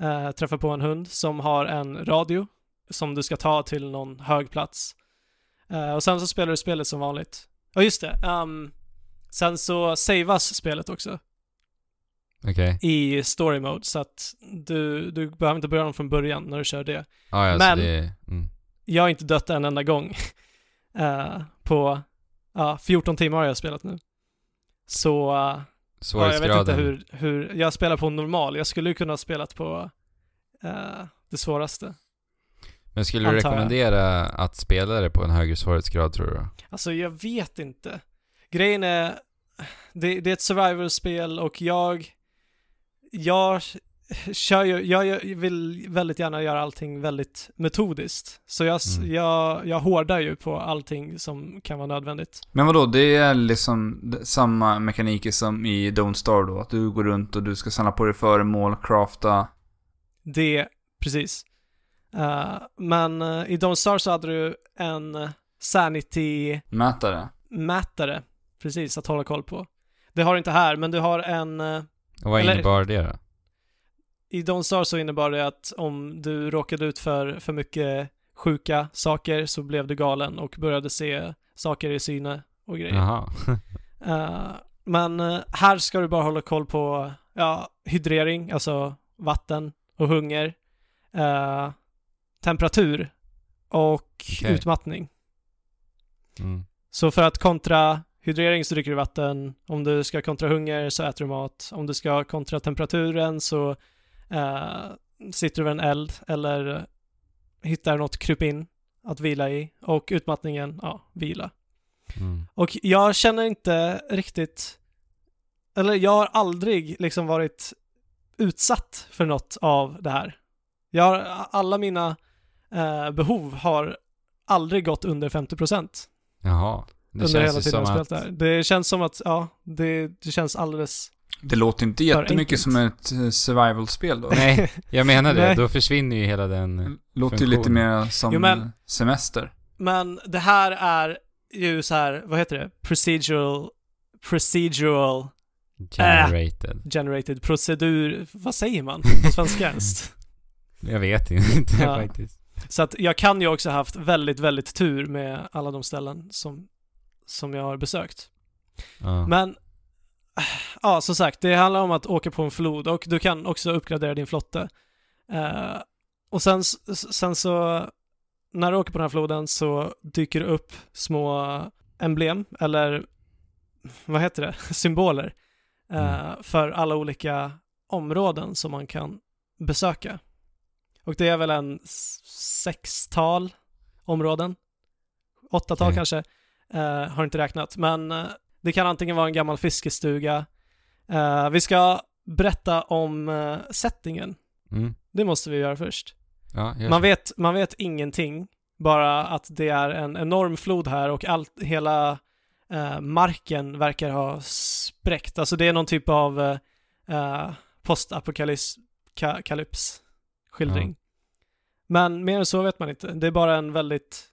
eh, träffar på en hund som har en radio som du ska ta till någon hög plats. Eh, och sen så spelar du spelet som vanligt. Ja, just det. ehm, sen så savas spelet också
Okej.
i story mode, så att du, du behöver inte börja om från början när du kör det.
Ah, ja,
Men-
så det, mm.
Jag har inte dött en enda gång eh, på ja, 14 timmar har jag spelat nu. Så eh, ja, jag
Svårighetsgraden.
vet inte hur, hur, jag spelar på normal, jag skulle ju kunna ha spelat på eh, det svåraste.
Men skulle du
antar jag.
rekommendera att spela det på en högre svårighetsgrad tror du?
Alltså jag vet inte. Grejen är, det, det är ett survival-spel och jag, jag kör ju, jag, jag vill väldigt gärna göra allting väldigt metodiskt. Så jag, s-
Mm.
jag, jag hårdar ju på allting som kan vara nödvändigt.
Men vadå, det är liksom d- samma mekaniker som i Don't Starve då? Att du går runt och du ska samla på dig föremål, crafta.
Det, precis. Eh, men eh, i Don't Star så hade du en eh, sanity-mätare,
Mätare.
precis, att hålla koll på. Det har du inte här, men du har en... eh,
Och vad
Eller-
innebar det då?
I Don't Star så innebar det att om du råkade ut för för mycket sjuka saker så blev du galen och började se saker i syne och grejer.
Jaha.
Eh, men eh, här ska du bara hålla koll på ja, hydrering, alltså vatten och hunger, eh, temperatur och
Okej.
utmattning.
Mm.
Så för att kontra hydrering så dricker du vatten, om du ska kontra hunger så äter du mat, om du ska kontra temperaturen så eh, sitter du vid en eld eller hittar något krypin att vila i och utmattningen, ja, vila.
Mm.
Och jag känner inte riktigt, eller jag har aldrig liksom varit utsatt för något av det här. Jag har, alla mina eh, behov har aldrig gått under 50%
Jaha. Det
under
känns
hela
ju
tiden jag
som
spelat
att...
det här. Det känns som att, ja, det, det känns alldeles...
Det låter inte
För
jättemycket som ett eh, survival-spel då.
Nej, jag menar det.
Nej. Mm.
Då försvinner ju hela den...
låter ju
Funktion.
lite mer som
Jo, men-
eh, semester.
Men det här är ju så här, vad heter det? Procedural... Procedural
Generated.
generated procedur... Vad säger man på svenska ens?
Jag vet inte
Ja.
faktiskt.
Så att jag kan ju också ha haft väldigt, väldigt tur med alla de ställen som, som jag har besökt.
Ja.
Men, äh, ja, som sagt, det handlar om att åka på en flod och du kan också uppgradera din flotte. Eh, och sen, s- s- sen så, när du åker på den här floden så dyker det upp små emblem, eller vad heter det, symboler eh, för alla olika områden som man kan besöka. Och det är väl en s- sextal områden, åtta tal
Okej.
kanske, eh, har inte räknat, men eh, det kan antingen vara en gammal fiskestuga. Eh, vi ska berätta om eh, settingen.
Mm.
Det måste vi göra först.
Ja, just
Man vet, man vet ingenting, bara att det är en enorm flod här och allt, hela eh, marken verkar ha spräckt. Alltså det är någon typ av eh, eh, postapokalyps-skildring. Men mer än så vet man inte. Det är bara en väldigt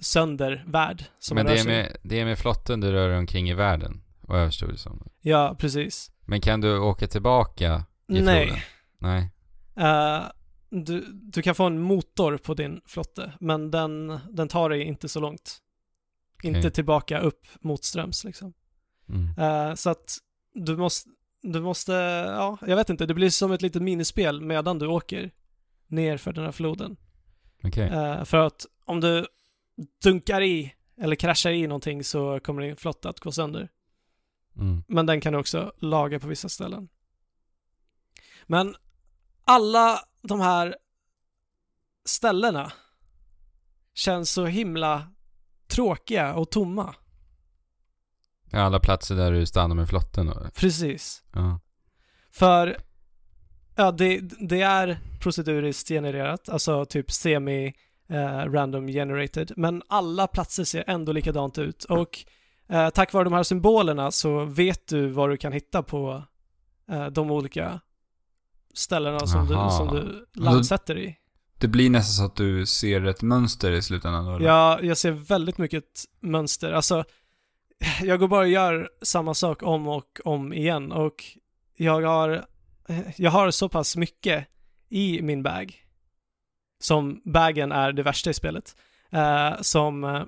sönder värld som
Men
rör
det är,
sig.
med, det är med flotten du rör dig omkring i världen, vad jag förstod det som.
Ja, precis.
Men kan du åka tillbaka i
Nej.
floden? Nej.
Eh, du, du kan få en motor på din flotte, men den, den tar dig inte så långt. Inte
Okej.
tillbaka upp motströms liksom.
Mm.
Eh, så att du måste, du måste, ja, jag vet inte, det blir som ett litet minispel medan du åker ner för den här floden.
Okej.
Eh, för att om du dunkar i eller kraschar i någonting så kommer din flotte att gå sönder.
Mm.
Men den kan du också laga på vissa ställen. Men alla de här ställena känns så himla tråkiga och tomma.
Ja, Alla platser där du stannar med flotten då?
Precis.
Ja.
För ja, det, det är proceduriskt genererat, alltså typ semi eh, random generated, men alla platser ser ändå likadant ut och eh, tack vare de här symbolerna så vet du vad du kan hitta på eh, de olika ställena som du,
Aha.
som du landsätter i.
Det blir nästan så att du ser ett mönster i slutändan då, eller?
Ja, jag ser väldigt mycket ett mönster. Alltså, jag går bara och gör samma sak om och om igen och jag har, eh, jag har så pass mycket i min bag som bagen är det värsta i spelet. eh, som, eh,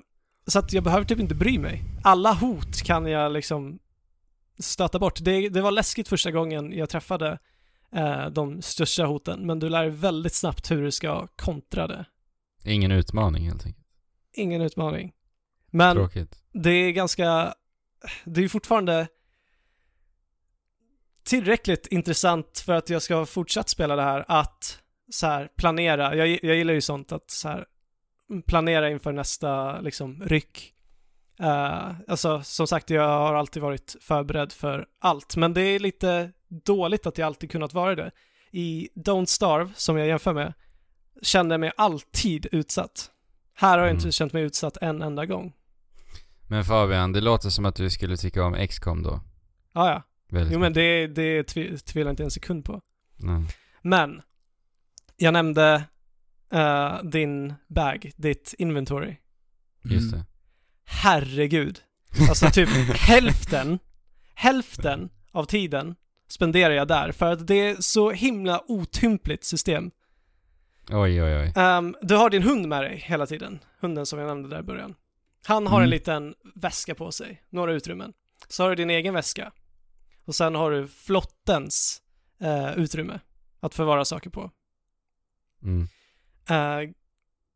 så att jag behöver typ inte bry mig. Alla hot kan jag liksom stöta bort. Det, det var läskigt första gången jag träffade eh, de största hoten, men du lär dig väldigt snabbt hur du ska kontra det.
Ingen utmaning helt enkelt.
Ingen utmaning. Men
Tråkigt.
det är ganska, det är ju fortfarande tillräckligt intressant för att jag ska fortsatt spela det här att så här planera, jag, jag gillar ju sånt att så här planera inför nästa liksom ryck. Eh, alltså som sagt, jag har alltid varit förberedd för allt, men det är lite dåligt att jag alltid kunnat vara det. I Don't Starve, som jag jämför med, kände jag mig alltid utsatt. Här har jag inte
Mm.
känt mig utsatt en enda gång.
Men Fabian, det låter som att du skulle tycka om XCOM då.
Ja, ja.
Väldigt
Jo men
mycket.
det, det tvi- tvivlar jag inte en sekund på.
Nej.
Men, jag nämnde eh, din bag, ditt inventory.
Mm. Just
Mm.
det.
Herregud. Alltså typ hälften, hälften av tiden spenderar jag där för att det är så himla otympligt system.
Oj, oj, oj.
Ehm, du har din hund med dig hela tiden, hunden som jag nämnde där i början. Han har en
Mm.
liten väska på sig, några utrymmen. Så har du din egen väska och sen har du flottens eh, utrymme att förvara saker på.
Mm.
Eh,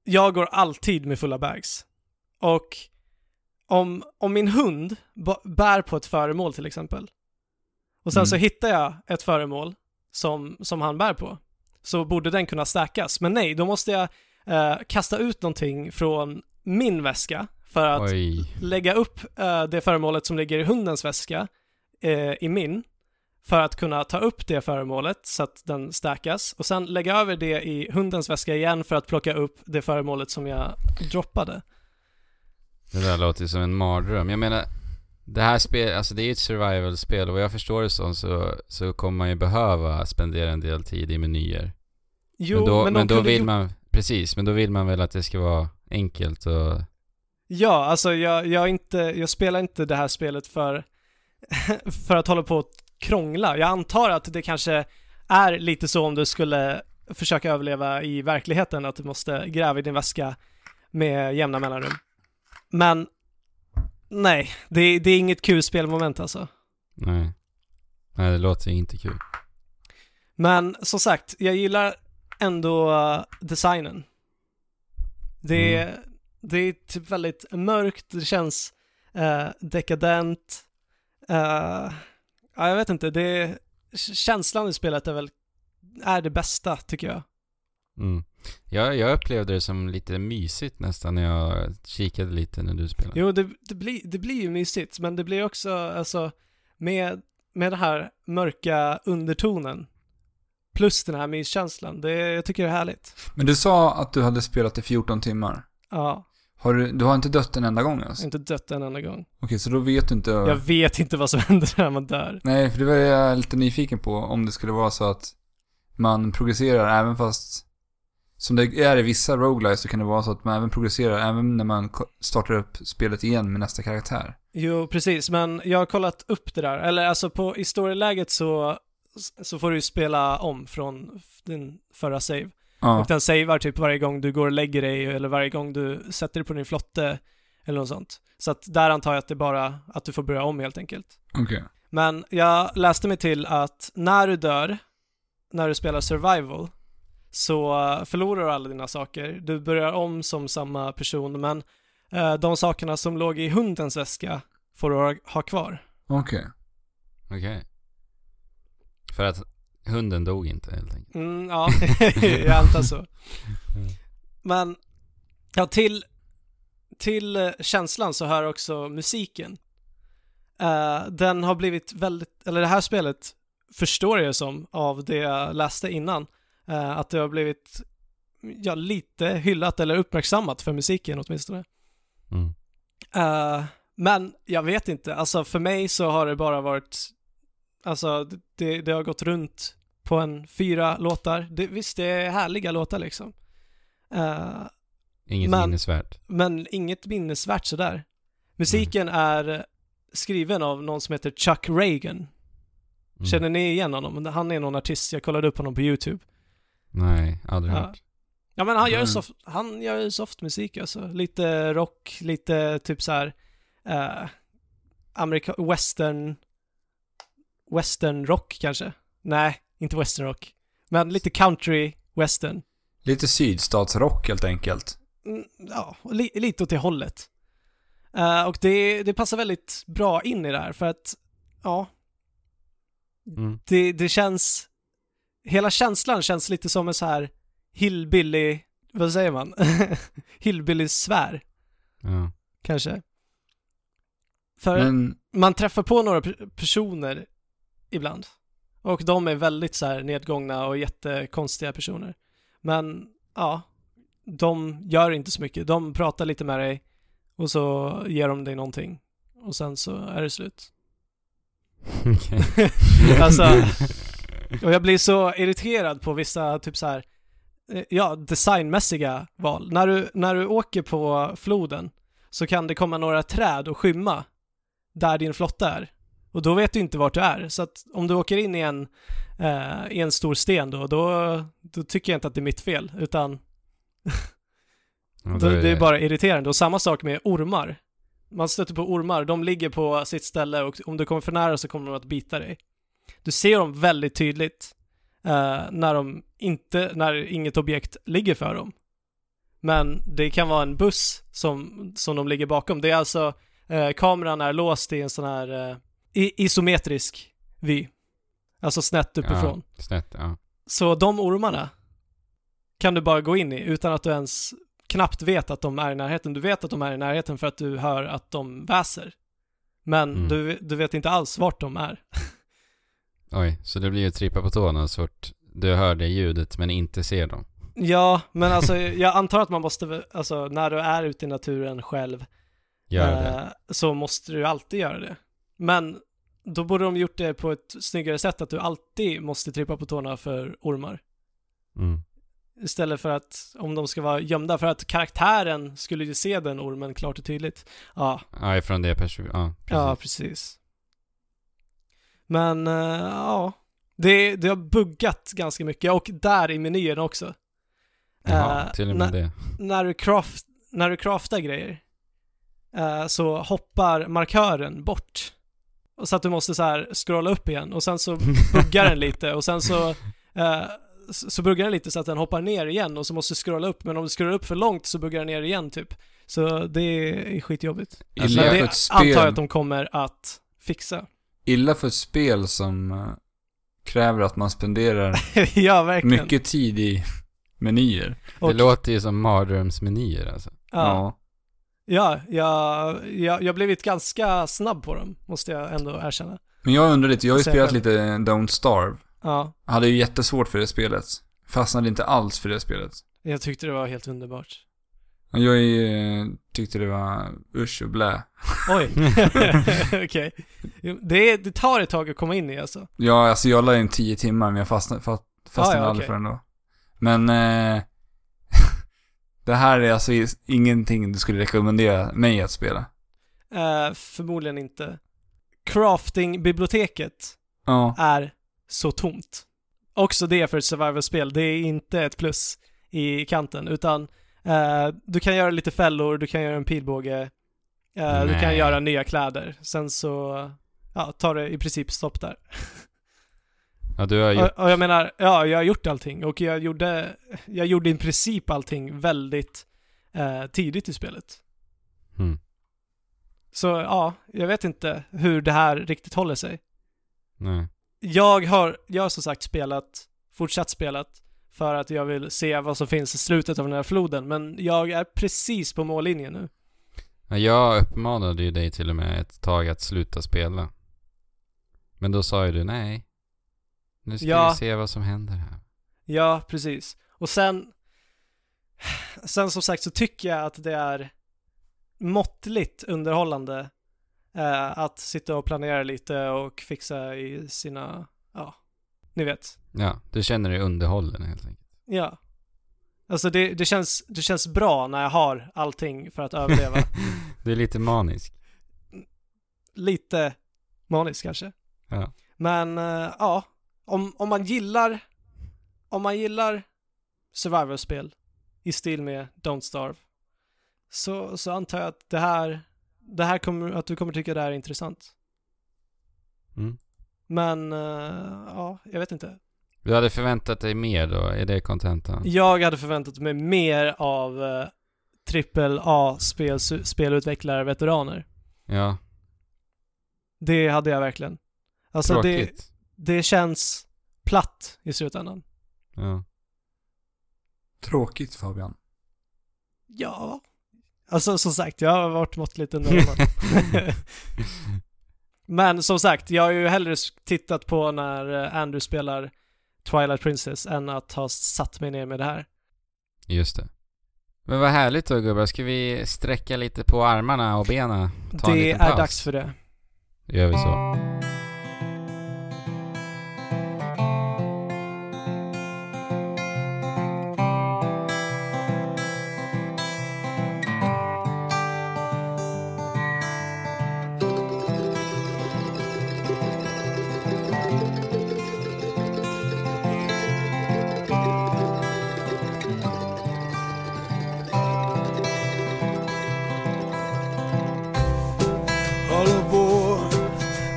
jag går alltid med fulla bags. Och om, om min hund ba- bär på ett föremål till exempel och sen
Mm.
så hittar jag ett föremål som, som han bär på så borde den kunna stärkas. Men nej, då måste jag eh, kasta ut någonting från min väska för att
Oj.
lägga upp eh, det föremålet som ligger i hundens väska eh, i min för att kunna ta upp det föremålet så att den stärkas och sen lägga över det i hundens väska igen för att plocka upp det föremålet som jag droppade.
Det där låter ju som en mardröm. Jag menar, det här spelet, alltså det är ju ett survival-spel och vad jag förstår det som så, så kommer man ju behöva spendera en del tid i menyer.
Jo,
men då, men
de
då
kunde
vill
gjort-
man, precis, men då vill man väl att det ska vara enkelt och,
Ja, alltså jag, jag, är inte, jag spelar inte det här spelet för, för att hålla på och krångla. Jag antar att det kanske är lite så om du skulle försöka överleva i verkligheten, att du måste gräva i din väska med jämna mellanrum. Men nej, det, det är inget kul spelmoment alltså.
nej. Nej, det låter ju inte kul.
Men som sagt, jag gillar ändå eh, designen. Det, är det är typ väldigt mörkt, det känns eh, dekadent. Eh, ja, jag vet inte, det, k- känslan i spelet är väl är det bästa tycker jag.
Mm. Jag, jag upplevde det som lite mysigt nästan när jag kikade lite när du spelade.
Jo, det, det, blir, det blir ju mysigt, men det blir också, alltså, med, med den här mörka undertonen, plus den här myskänslan, det, jag tycker det är härligt.
Men du sa att du hade spelat i 14 timmar.
Ja,
Har du, du har inte dött en enda gång
jag
ens?
har inte dött en enda gång.
Okej, så då vet du inte...
Mm. Jag vet inte vad som händer när man dör.
Nej, för det var jag lite nyfiken på. Om det skulle vara så att man progresserar även fast... Som det är i vissa roguelites så kan det vara så att man även progresserar även när man ko- startar upp spelet igen med nästa karaktär.
Jo, precis, men jag har kollat upp det där. Eller alltså på, i storyläget så, så får du ju spela om från din förra save.
Ja.
Och den savear typ varje gång du går och lägger dig eller varje gång du sätter dig på din flotte eller något sånt. Så att där antar jag att det är bara att du får börja om helt enkelt.
Okej.
Men jag läste mig till att när du dör, när du spelar survival, så eh, förlorar du alla dina saker. Du börjar om som samma person, men eh, de sakerna som låg i hundens väska får du ha- ha kvar.
Okej.
Okej. För att hunden dog inte helt enkelt.
Mm, ja, jag antar så. Men, ja, till, till eh, känslan så hör också musiken. Eh, den har blivit väldigt, eller det här spelet förstår jag som av det jag läste innan, eh, att det har blivit ja, lite hyllat eller uppmärksammat för musiken åtminstone.
Mm.
Eh, men jag vet inte, alltså för mig så har det bara varit, alltså det, det har gått runt på en fyra låtar. Det, visst, det är härliga låtar liksom. Eh,
Inget
Men-
minnesvärt.
men inget minnesvärt sådär. Musiken är skriven av någon som heter Chuck Reagan.
Mm.
Känner ni igen honom? Han är någon artist, jag kollade upp honom på YouTube.
Nej, aldrig
Ja.
hört.
Ja men han gör ju
Mm.
soft, han gör ju softmusik alltså. Lite rock, lite typ så här eh, amerika- western, western rock kanske? Nej, inte western rock. Men lite country, western.
Lite sydstatsrock helt enkelt.
Mm, ja, li, lite åt det hållet. Eh, och det, det passar väldigt bra in i det här för att, ja,
Mm.
det, det känns, hela känslan känns lite som en så här hillbilly, vad säger man? Hillbilly-sfär
Ja.
kanske. För
Men,
man träffar på några pe- personer ibland och de är väldigt så här nedgångna och jättekonstiga personer. Men ja, de gör inte så mycket. De pratar lite med dig och så ger de dig någonting och sen så är det slut.
Okej.
Alltså, och jag blir så irriterad på vissa typ så här, eh, ja, designmässiga val. När du, när du åker på floden så kan det komma några träd och skymma där din flotta är. Och då vet du inte vart du är. Så att om du åker in i en, eh, i en stor sten då, då, då tycker jag inte att det är mitt fel, utan
Ja, då
då, det är bara irriterande. Och samma sak med ormar. Man stöter på ormar, de ligger på sitt ställe och om du kommer för nära så kommer de att bita dig. Du ser dem väldigt tydligt eh, när, de inte, när inget objekt ligger för dem. Men det kan vara en buss som, som de ligger bakom. Det är alltså, eh, kameran är låst i en sån här eh, i- isometrisk vy. Alltså snett uppifrån.
Ja, snett, ja.
Så de ormarna kan du bara gå in i utan att du ens knappt vet att de är i närheten. Du vet att de är i närheten för att du hör att de väser. Men
Mm.
du, du vet inte alls vart de är.
Oj, så det blir ju trippa på tårna så fort du hör det ljudet men inte ser dem.
Ja, men alltså jag antar att man måste, alltså när du är ute i naturen själv
Gör det.
eh, så måste du alltid göra det. Men då borde de gjort det på ett snyggare sätt att du alltid måste trippa på tårna för ormar.
Mm.
Istället för att, om de ska vara gömda, för att karaktären skulle ju se den ormen klart och tydligt. Ja,
Ja, ifrån det perspektivet. Ja, precis.
ja precis. Men, eh, ja. Det, det har buggat ganska mycket, och där i menyn också.
Jaha,
Eh,
till och
när-
med det.
när du, craft, när du craftar grejer eh, så hoppar markören bort. Och Så att du måste så här scrolla upp igen och sen så buggar den lite och sen så, eh, s- så buggar den lite så att den hoppar ner igen och så måste du scrolla upp men om du scrollar upp för långt så buggar den ner igen typ. Så det är skitjobbigt.
illa,
men Alltså, det
för ett
antar jag att
spel,
de kommer att fixa.
illa för ett spel som eh, kräver att man spenderar
ja, verkligen.
mycket tid i menyer.
Det
och-
låter ju som mardrömsmenyer alltså.
Ja, ja jag, jag, jag har blivit ganska snabb på dem, måste jag ändå erkänna.
Men jag undrar lite, jag har ju
Säg
spelat
själv.
lite Don't Starve.
Ja,
Hade ju jättesvårt för det spelet. Fastnade inte alls för det spelet.
jag tyckte det var helt underbart.
Jag eh, tyckte det var usch och blä.
Oj, okej. Jo, Det, är- det tar ett tag att komma in i alltså.
Ja, alltså jag la in tio timmar men jag fastnade, fast, fastnade
Ah, ja,
aldrig
okej.
för den då. Men eh, det här är alltså is- ingenting du skulle rekommendera mig att spela.
Eh, förmodligen inte. Crafting-biblioteket
Ja,
är så tomt. Också det för ett survival-spel, det är inte ett plus. i kanten, utan eh, du kan göra lite fällor, du kan göra en pilbåge, eh, du kan
Nej.
göra nya kläder. Sen så ja, tar det i princip stopp där.
Ja, du har gjort...
Och, och jag menar, ja, jag har gjort allting och jag gjorde, jag gjorde i princip allting väldigt eh, tidigt i spelet.
Mm.
Så ja, jag vet inte hur det här riktigt håller sig.
Nej.
Jag har, jag har som sagt spelat, fortsatt spelat, för att jag vill se vad som finns i slutet av den här floden, men jag är precis på mållinjen nu.
Ja, Jag uppmanade ju dig till och med ett tag att sluta spela. Men då sa ju du nej. Nu ska
Ja.
vi se vad som händer här.
Ja, precis. Och sen, sen som sagt så tycker jag att det är måttligt underhållande eh, att sitta och planera lite och fixa i sina, ja, ni vet.
Ja, du känner dig underhållen helt enkelt.
Ja. Alltså det, det, känns, det känns bra när jag har allting för att överleva.
du är lite manisk.
Lite manisk kanske.
Ja.
Men eh, ja, om, om man gillar om man gillar survival-spel i stil med Don't Starve så, så antar jag att det här, det här kommer, att du kommer tycka det här är intressant.
Mm.
Men eh, ja, jag vet inte.
Du hade förväntat dig mer då? Är det kontentan?
Jag hade förväntat mig mer av eh, trippel A-spel, spelutvecklare, veteraner.
Ja,
Det hade jag verkligen. Alltså det,
tråkigt.
det känns platt i slutändan.
Ja.
Tråkigt Fabian.
Ja. Alltså som sagt, jag har varit måttligt underhållad. Men som sagt, jag har ju hellre s- tittat på när eh, Andrew spelar Twilight Princess än att ha satt mig ner med det här.
Just det. Men vad härligt då gubbar, ska vi sträcka lite på armarna och benen? Ta en
det
liten
är
paus.
dags för det.
Då gör vi så.
All aboard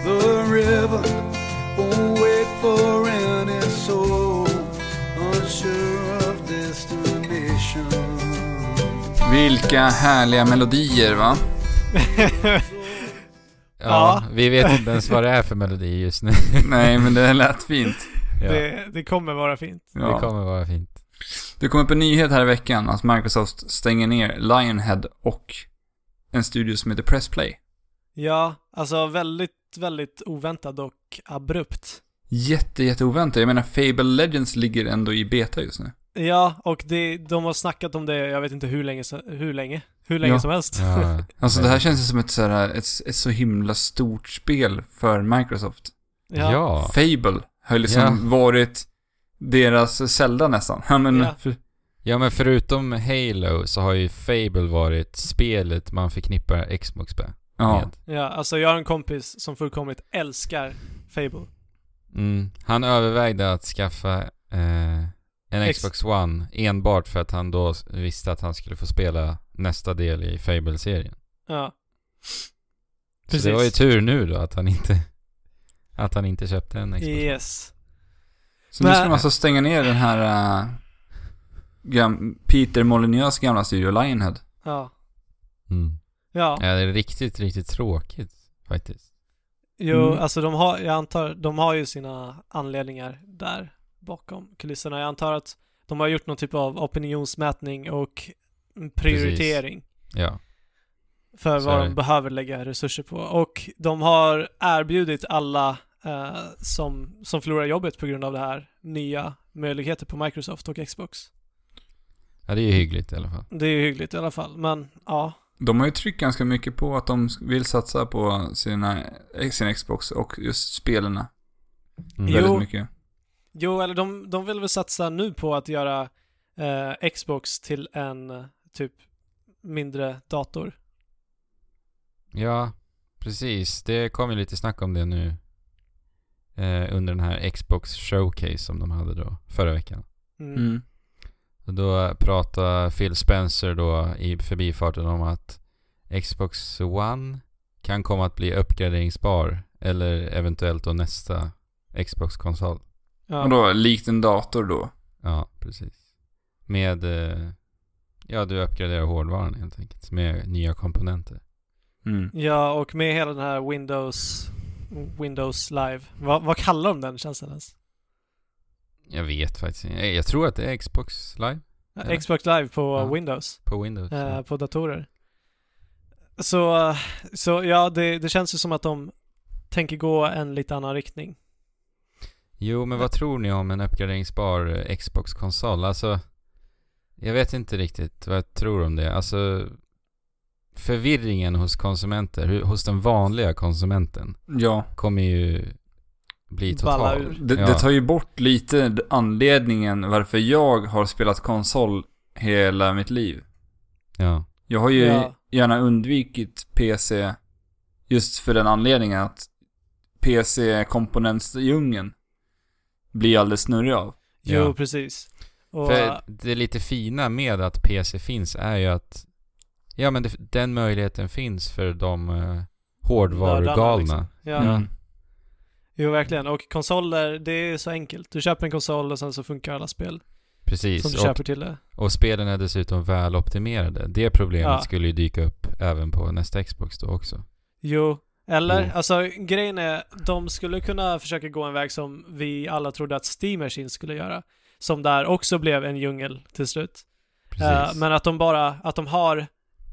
the river, won't wait for any soul, unsure of destination.
Vilka härliga melodier va?
Ja,
Ja.
vi vet inte ens vad det är för melodi just nu.
Nej men det lät fint.
Ja, det,
det. Det kommer vara fint.
Ja.
kommer vara fint.
Det kom upp en nyhet här i veckan att Microsoft stänger ner Lionhead och en studio som heter Pressplay.
Ja, alltså väldigt, väldigt oväntat och abrupt.
Jätte, jätte oväntat. Jag menar, Fable Legends ligger ändå i beta just nu.
Ja, och det, de har snackat om det, jag vet inte hur länge, se- hur länge, hur länge
Ja.
som helst.
Ja.
Alltså det här känns ju som ett, så här, ett, ett så himla stort spel för Microsoft.
Ja.
ja.
Fable har ju liksom
Ja.
varit deras Zelda nästan. Ja, men,
Ja.
för-
Ja men förutom Halo så har ju Fable varit spelet man förknippar Xbox med.
ja.
ja, alltså jag har en kompis som fullkomligt älskar Fable.
Mm. Han övervägde att skaffa eh, en
Ex-
Xbox One enbart för att han då s- visste att han skulle få spela nästa del i Fable-serien.
Ja.
Så det var ju tur nu då att han inte, att han inte köpte en Xbox One.
Yes.
Så nu ska
Men-
de alltså stänga ner den här äh, gam- Peter Molyneux gamla studio Lionhead.
Ja.
Mm.
Ja,
Ja, det är riktigt, riktigt tråkigt faktiskt.
jo,
Mm.
alltså de har, jag antar, de har ju sina anledningar där bakom kulisserna. Jag antar att de har gjort någon typ av opinionsmätning och prioritering.
Ja.
för
Så
vad
är
de
det.
behöver lägga resurser på. Och de har erbjudit alla eh, som, som förlorar jobbet på grund av det här nya möjligheter på Microsoft och Xbox.
ja, det är ju hyggligt i alla fall.
Det är ju hyggligt i alla fall, men ja.
De har ju tryckt ganska mycket på att de vill satsa på sina, sin Xbox och just spelarna.
Mm.
Jo.
Väldigt mycket.
Jo, eller de, de vill väl satsa nu på att göra eh, Xbox till en eh, typ mindre dator.
Ja, precis. Det kom ju lite snack om det nu. Eh, under den här Xbox Showcase som de hade då förra veckan.
Mm.
Mm.
Och Då pratar Phil Spencer då i förbifarten om att Xbox One kan komma att bli uppgraderingsbar eller eventuellt då nästa Xbox-konsol.
Och då, likt en dator då.
Ja, precis. Med, eh, ja du uppgraderar hårdvaran helt enkelt med nya komponenter.
Mm.
Ja, och med hela den här Windows Windows Live. Vad, vad kallar de den tjänsten ens?
Jag vet faktiskt inte. Jag- Jag tror att det är Xbox Live Eller?
Xbox Live på
Ja.
Windows.
på Windows.
eh, på datorer. Så, så ja, det, det känns ju som att de tänker gå en lite annan riktning.
Jo, men vad tror ni om en uppgraderingsbar eh, Xbox-konsol? Alltså, jag vet inte riktigt vad jag tror om det. Alltså, förvirringen hos konsumenter, hu- hos den vanliga konsumenten,
Ja.
kommer ju bli
Balla
total.
ur.
Det,
Ja.
det tar ju bort lite d- anledningen varför jag har spelat konsol hela mitt liv.
Ja,
Jag har ju
Ja.
gärna undvikit PC just för den anledningen att PC-komponentsdjungeln blir alldeles snurrig av.
Jo,
Ja.
precis. Och,
för det lite fina med att PC finns är ju att, ja men det, den möjligheten finns för de eh,
Nördarna,
hårdvarugalna.
liksom. ja.
Mm.
Jo, verkligen. Och konsoler, det är så enkelt. Du köper en konsol och sen så funkar alla spel som du
Precis, och,
köper till det.
och spelen är dessutom väloptimerade. Det problemet
Ja.
skulle ju dyka upp även på nästa Xbox då också.
Jo, eller?
Mm.
Alltså grejen är, de skulle kunna försöka gå en väg som vi alla trodde att Steam Machine skulle göra. Som där också blev en djungel till slut.
Precis.
Eh, men att de bara, att de har,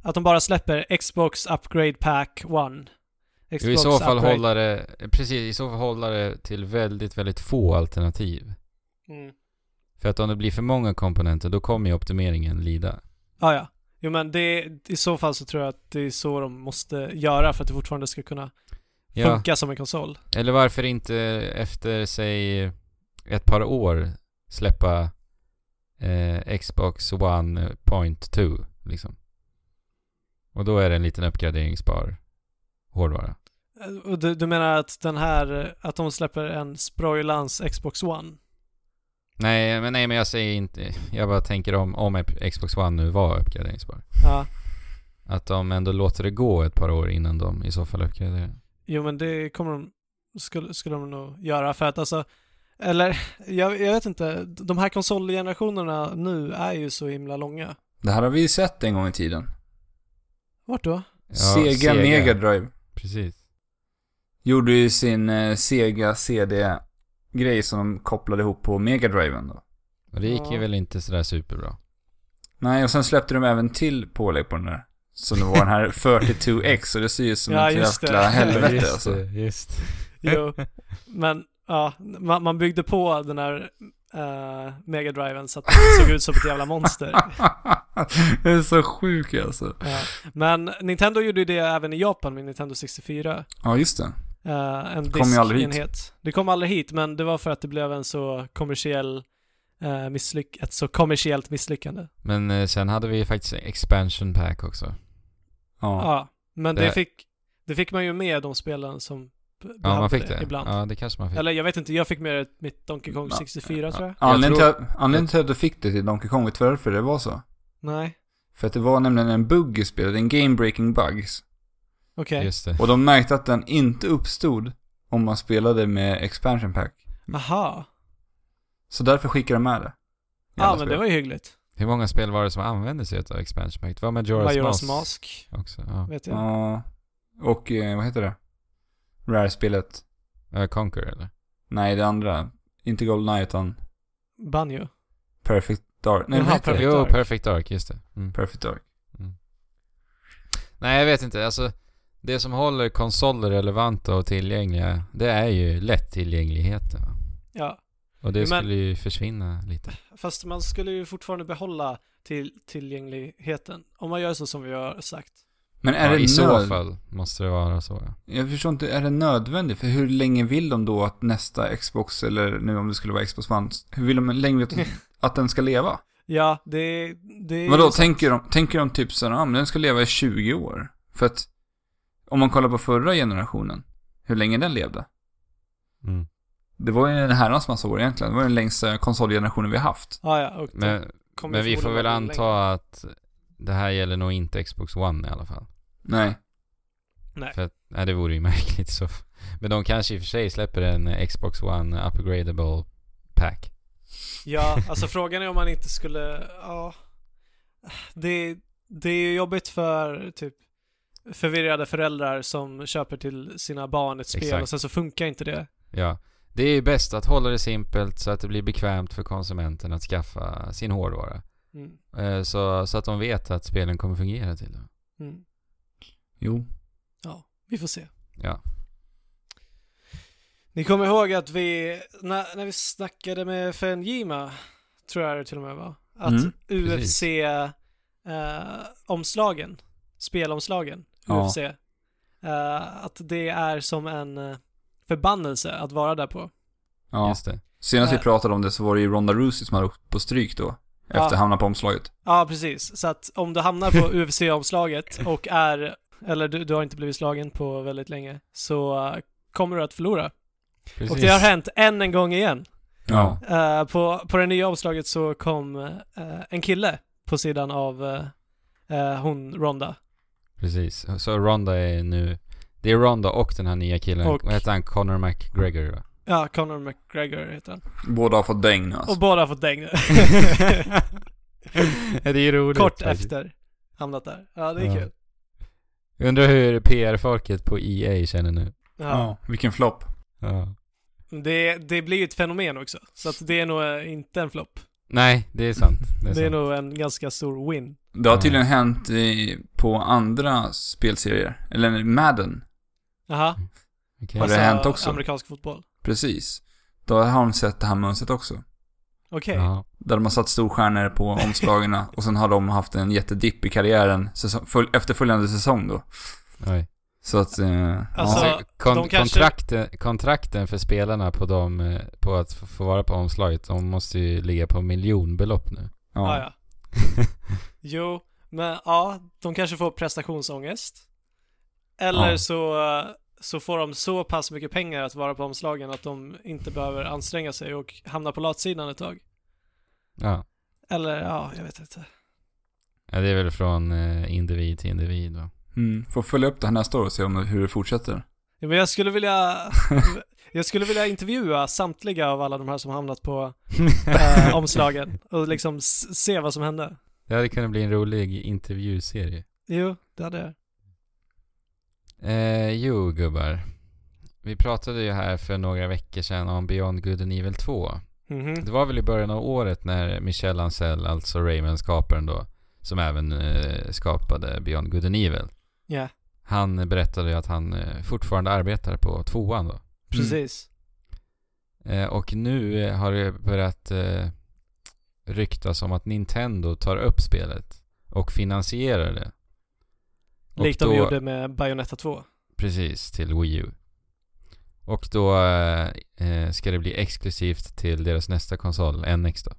att de bara släpper Xbox Upgrade Pack 1. Xbox
Jo, I så fall
Upgrade-
hålla det, precis, i så fall hålla det till väldigt, väldigt få alternativ.
Mm.
För att om det blir för många komponenter, då kommer ju optimeringen lida.
Ah, ja. Jo men det, i så fall så tror jag att det är så de måste göra för att det fortfarande ska kunna
Ja,
funka som en konsol.
eller varför inte efter, säg, ett par år släppa eh, Xbox One Point 2, liksom. Och då är det en liten uppgraderingsbar hårdvara.
Eh, och Du, du menar att den här, eh, att de släpper en sprojlans Xbox One?
Nej, men nej, men jag säger inte, jag bara tänker om, om Xbox One nu var uppgraderingsbar.
Ja.
Att de ändå låter det gå ett par år innan de i så fall uppgraderar.
Jo men det kommer de, skulle, skulle de nog göra för att alltså, eller jag, jag vet inte, de här konsolgenerationerna nu är ju så himla långa.
Det här har vi ju sett en gång i tiden.
Vart då?
Ja,
Sega, Mega Drive
Precis.
gjorde ju sin eh, Sega CD-grej som de kopplade ihop på Mega Driven då.
Och det gick ju
Ja.
väl inte sådär superbra.
Nej, och sen släppte de även till pålägg på den där. Som det var den här 42X och det ser ju ut som
Ja,
ett
just det.
jäkla helvete
just
alltså.
det, just det.
Jo, men ja, man, man byggde på den här uh, megadriven så att den såg ut som ett jävla monster.
det är så sjuk alltså.
Ja. Men Nintendo gjorde ju det även i Japan med Nintendo 64.
Ja, just det.
Eh, en
kom ju aldrig hit.
diskenhet. Det kom aldrig hit, men det var för att det blev en så kommersiell eh, misslyck- ett så kommersiellt misslyckande.
Men eh, sen hade vi ju faktiskt expansion pack också.
Ja,
Ja.
men
Det-
det, fick, det fick man ju med de spelen som b-
Ja,
behövde
man fick det.
ibland.
Ja, det kanske man fick.
Eller jag vet inte, jag fick med det mitt Donkey Kong
Ja.
64 tror jag.
Anledningen,
tror-
till att, anledningen till att du fick det till Donkey Kong, vet du varför det var så?
Nej,
För att det var nämligen en bugg i spelet, en game breaking bugs.
okej.
Just det.
Och de märkte att den inte uppstod om man spelade med expansion pack.
Aha.
Så därför skickade de med det. I
Ja,
alla
ah, men
spel.
det var ju hyggligt.
Hur många spel var det som använde sig av expansion pack? Det var Majora's,
Majora's
Mask.
Mask,
Också, ja.
vet jag.
Ja. Och, eh, vad heter det? Rare-spelet.
ja. Conquer eller?
Nej, det andra. Inte Goldeneye utan
Banjo.
Perfect Dark. Nej,
Jaha,
vad heter
Perfect
det?
jo,
Dark.
Perfect Dark, just det. Mm.
Perfect Dark.
Nej, jag vet inte. Alltså, det som håller konsoler relevanta och tillgängliga, det är ju lättillgängligheten. va.
Ja.
Och det
Men-
skulle ju försvinna lite.
Fast man skulle ju fortfarande behålla till tillgängligheten. Om man gör så som vi har sagt.
Men är
ja,
det
I så
nöd...
fall måste det vara så. Ja.
Jag förstår inte, är det nödvändigt? För hur länge vill de då att nästa Xbox, eller nu om det skulle vara Xbox One, hur vill de länge att, att den ska leva?
Ja, det... det
Vadå, tänker de, tänker de typ såhär, ah, men den ska leva i 20 år? För att, om man kollar på förra generationen, hur länge den levde?
Mm.
Det var ju en herrans massa år egentligen, det var den längsta konsolgenerationen vi haft.
Ah, ja, och
Men
kommer
Men vi får väl
förmodligen vara länge.
anta att det här gäller nog inte Xbox One i alla fall.
Nej.
Nej.
För att, nej, det vore ju märkligt så. Men de kanske i och för sig släpper en eh, Xbox One upgradable pack.
Ja, alltså frågan är om man inte skulle, ja. Det, det är ju jobbigt för typ förvirrade föräldrar som köper till sina barn ett spel
Exakt.
och sen så funkar inte det.
Ja. Det är ju bäst att hålla det simpelt så att det blir bekvämt för konsumenten att skaffa sin hårdvara.
Mm.
Eh, Så, så att de vet att spelen kommer fungera till dem.
Mm.
Jo.
Ja, vi får se.
Ja.
Ni kommer ihåg att vi, när, när vi snackade med Fenjima, tror jag det till och med var, att
Mm,
UFC-omslagen, eh, spelomslagen,
Ja.
UFC, eh, att det är som en eh, förbannelse att vara där på.
Ja.
Just det.
Senast vi
Äh.
pratade om det så var det ju Ronda Rousey som hade åkt på stryk då. Efter
Ja.
att hamna på omslaget.
Ja, precis. Så att om du hamnar på UFC-omslaget och är, eller du, du har inte blivit slagen på väldigt länge, så eh, kommer du att förlora.
Precis.
Och det har hänt än en gång igen.
Ja.
Eh, på, på det nya omslaget så kom eh, en kille på sidan av eh, eh, hon Ronda.
Precis. Så Ronda är nu... Det är Ronda och den här nya killen.
Och-
Vad heter han? Conor McGregor va?
Ja, Conor McGregor heter han.
Båda har fått däng nu alltså.
Och båda har fått däng nu.
det är ju roligt.
Kort
faktiskt.
efter. Hamnat där. Ja, det är
Ja.
kul.
Undrar hur PR-folket på EA känner nu.
Ja.
Vilken flopp.
Ja.
Det, det blir ju ett fenomen också. Så att det är nog eh, inte en flopp.
Nej, det är sant. Det är,
Det är
sant.
nog en ganska stor win.
Det har
Ja.
tydligen hänt i, på andra spelserier. Eller Madden.
Jaha.
Okej.
Har det hänt också?
Alltså, Amerikansk fotboll.
Precis. Då har de sett det här mönstret också.
Okej.
Ja.
Där de har satt storstjärnor på omslagen och sen har de haft en jättedipp i karriären säsong, full, efterföljande säsong då.
Oj.
Så att... Eh,
Alltså,
ja.
Alltså, kon-
de kanske-
kontrakten, kontrakten för spelarna på dem, eh, på att f- få vara på omslaget, de måste ju ligga på miljonbelopp nu.
Ja,
ja.
ja. Jo, men ja, de kanske får prestationsångest. Eller
Ja.
så, så får de så pass mycket pengar att vara på omslagen att de inte behöver anstränga sig och hamna på latsidan ett tag.
Ja.
Eller ja, jag vet inte.
ja det är väl från eh, individ till individ då.
Mm, får följa upp det här nästa år och se om, hur det fortsätter.
Ja, men jag skulle vilja, jag skulle vilja intervjua samtliga av alla de här som hamnat på eh, omslagen och liksom s- se vad som hände.
Det hade kunnat bli en rolig intervjuserie.
Jo, det hade jag.
Eh, jo, gubbar. Vi pratade ju här för några veckor sedan om Beyond Good and Evil 2.
Mhm.
Det var väl i början av året när Michel Ancel, alltså Rayman-skaparen då, som även eh, skapade Beyond Good and Evil. Mm.
Ja,
Han berättade ju att han eh, fortfarande arbetar på tvåan då.
precis.
Eh, och nu eh, har det börjat eh, ryktas om att Nintendo tar upp spelet och finansierar det. Och
Likt de
då-
gjorde med Bayonetta 2.
Precis, till Wii U. Och då eh, eh, ska det bli exklusivt till deras nästa konsol, NX då.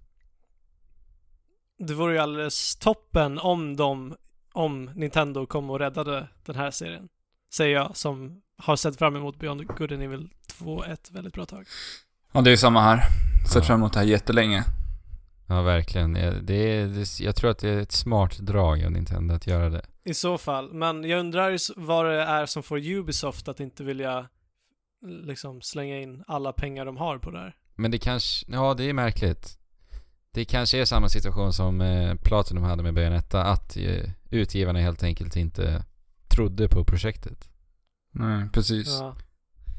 Det vore ju alldeles toppen om de, om Nintendo kom och räddade den här serien. Säger jag som har sett fram emot Beyond Good and Evil 2 ett väldigt bra tag.
Ja, det är samma här. Sett
Ja.
fram emot det här jättelänge.
Ja, verkligen. Eh, Det är, det, jag tror att det är ett smart drag av Nintendo att göra det.
I så fall, men jag undrar ju s- vad det är som får Ubisoft att inte vilja liksom slänga in alla pengar de har på det här.
Men det kanske, ja det är märkligt. Det kanske är samma situation som eh, Platinum hade med Bayonetta, att eh, utgivarna helt enkelt inte trodde på projektet.
Nej, precis. Ja.
Ja.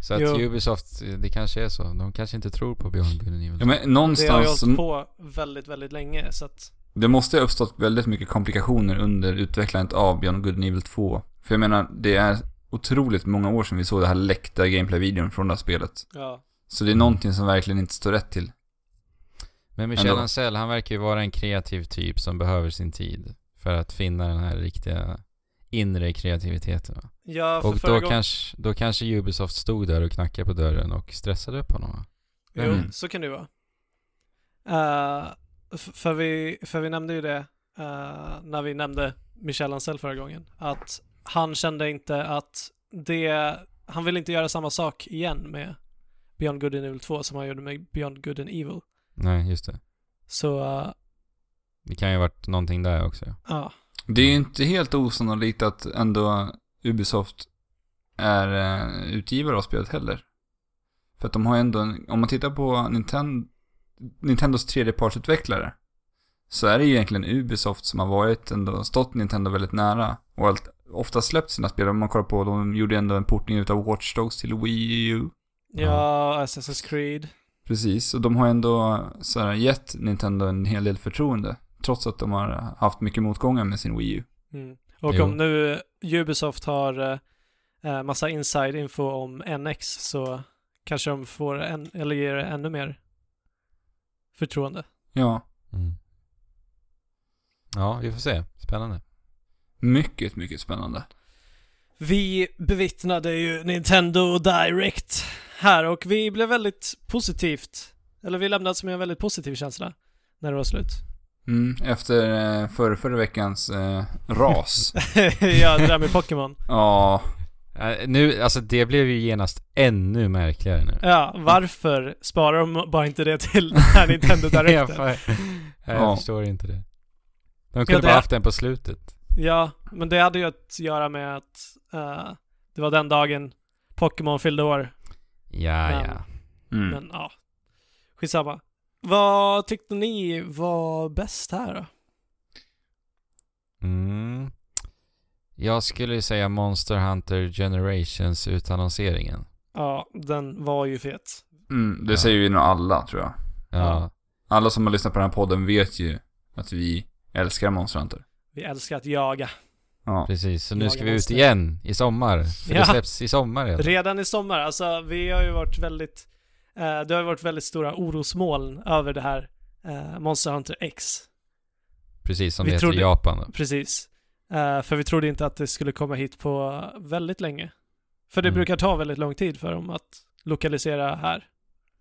Så att
Jo.
Ubisoft, eh, det kanske är så. De kanske inte tror på Beyond Good and Evil.
men
Det har ju
någonstans,
hållit på väldigt, väldigt länge så att
det måste ha uppstått väldigt mycket komplikationer under utvecklandet av Beyond Good and Evil 2. För jag menar, det är otroligt många år sedan vi såg det här läckta gameplay-videon från det här spelet.
ja.
Så det är någonting som verkligen inte står rätt till.
Men Michel
Ändå.
Ancel, han verkar ju vara en kreativ typ som behöver sin tid för att finna den här riktiga inre kreativiteten. Va?
Ja, för
Och
Alltså, förra
då
gången,
kanske, då kanske Ubisoft stod där och knackade på dörren och stressade upp honom va?
Jo,
Mm.
så kan det ju vara. Eh, f- för, vi, för vi nämnde ju det eh, när vi nämnde Michel Ancel förra gången. Att han kände inte att det, han vill inte göra samma sak igen med Beyond Good and Evil 2 som han gjorde med Beyond Good and Evil.
Nej, just det.
Så eh,
Det kan ju ha varit någonting där också. ja.
Ja.
Det är ju inte helt osannolikt att ändå Ubisoft är eh, utgivare av spelet heller. För att de har ju ändå, en, om man tittar på Nintendo, Nintendos tredjepartsutvecklare så är det ju egentligen Ubisoft som har varit ändå, stått Nintendo väldigt nära och allt, ofta släppt sina spel. Om man kollar på, de gjorde ändå en portning utav Watch Dogs till Wii U.
ja, Assassin's Creed.
Precis, och de har ändå så här, gett Nintendo en hel del förtroende. Trots att de har haft mycket motgångar med sin Wii U.
Mm. Och
Jo.
om nu Ubisoft har eh, massa inside info om NX så kanske de får, en, eller ger det ännu mer förtroende.
Ja,
Mm. Ja, vi får se. Spännande.
mycket, mycket spännande.
Vi bevittnade ju Nintendo Direct här och vi blev väldigt positivt, eller vi lämnades med en väldigt positiv känsla när det var slut.
Mm, efter eh, förra, förra veckans eh, ras.
ja, det där med Pokémon.
Ja,
Eh, Nu, alltså det blev ju genast ännu märkligare nu.
Ja, varför sparar de bara inte det till den här Nintendo
jag
Directen?
fa- jag
Ja.
förstår inte det. De kunde
det-
bara haft den på slutet.
Ja, men det hade ju att göra med att eh, det var den dagen Pokémon fyllde år.
Ja,
Men-
ja.
mm.
Men ja, skitsamma. Vad tyckte ni var bäst här då?
Mm. Jag skulle ju säga Monster Hunter Generations utannonseringen.
Ja, den var ju fet.
Mm, det
Ja.
säger ju nog alla tror jag.
Ja.
Alla som har lyssnat på den här podden vet ju att vi älskar Monster Hunter.
Vi älskar att jaga.
Ja.
Precis, så nu
Jaga
ska vi ut
monster.
igen i sommar. För
Ja.
det släpps i sommar redan.
Redan i sommar, alltså vi har ju varit väldigt, eh, det har ju varit väldigt stora orosmoln över det här eh, Monster Hunter X.
Precis som
Vi
det heter
trodde-
i Japan då.
Precis. Eh, för vi trodde inte att det skulle komma hit på väldigt länge. För det
Mm.
brukar ta väldigt lång tid för dem att lokalisera här.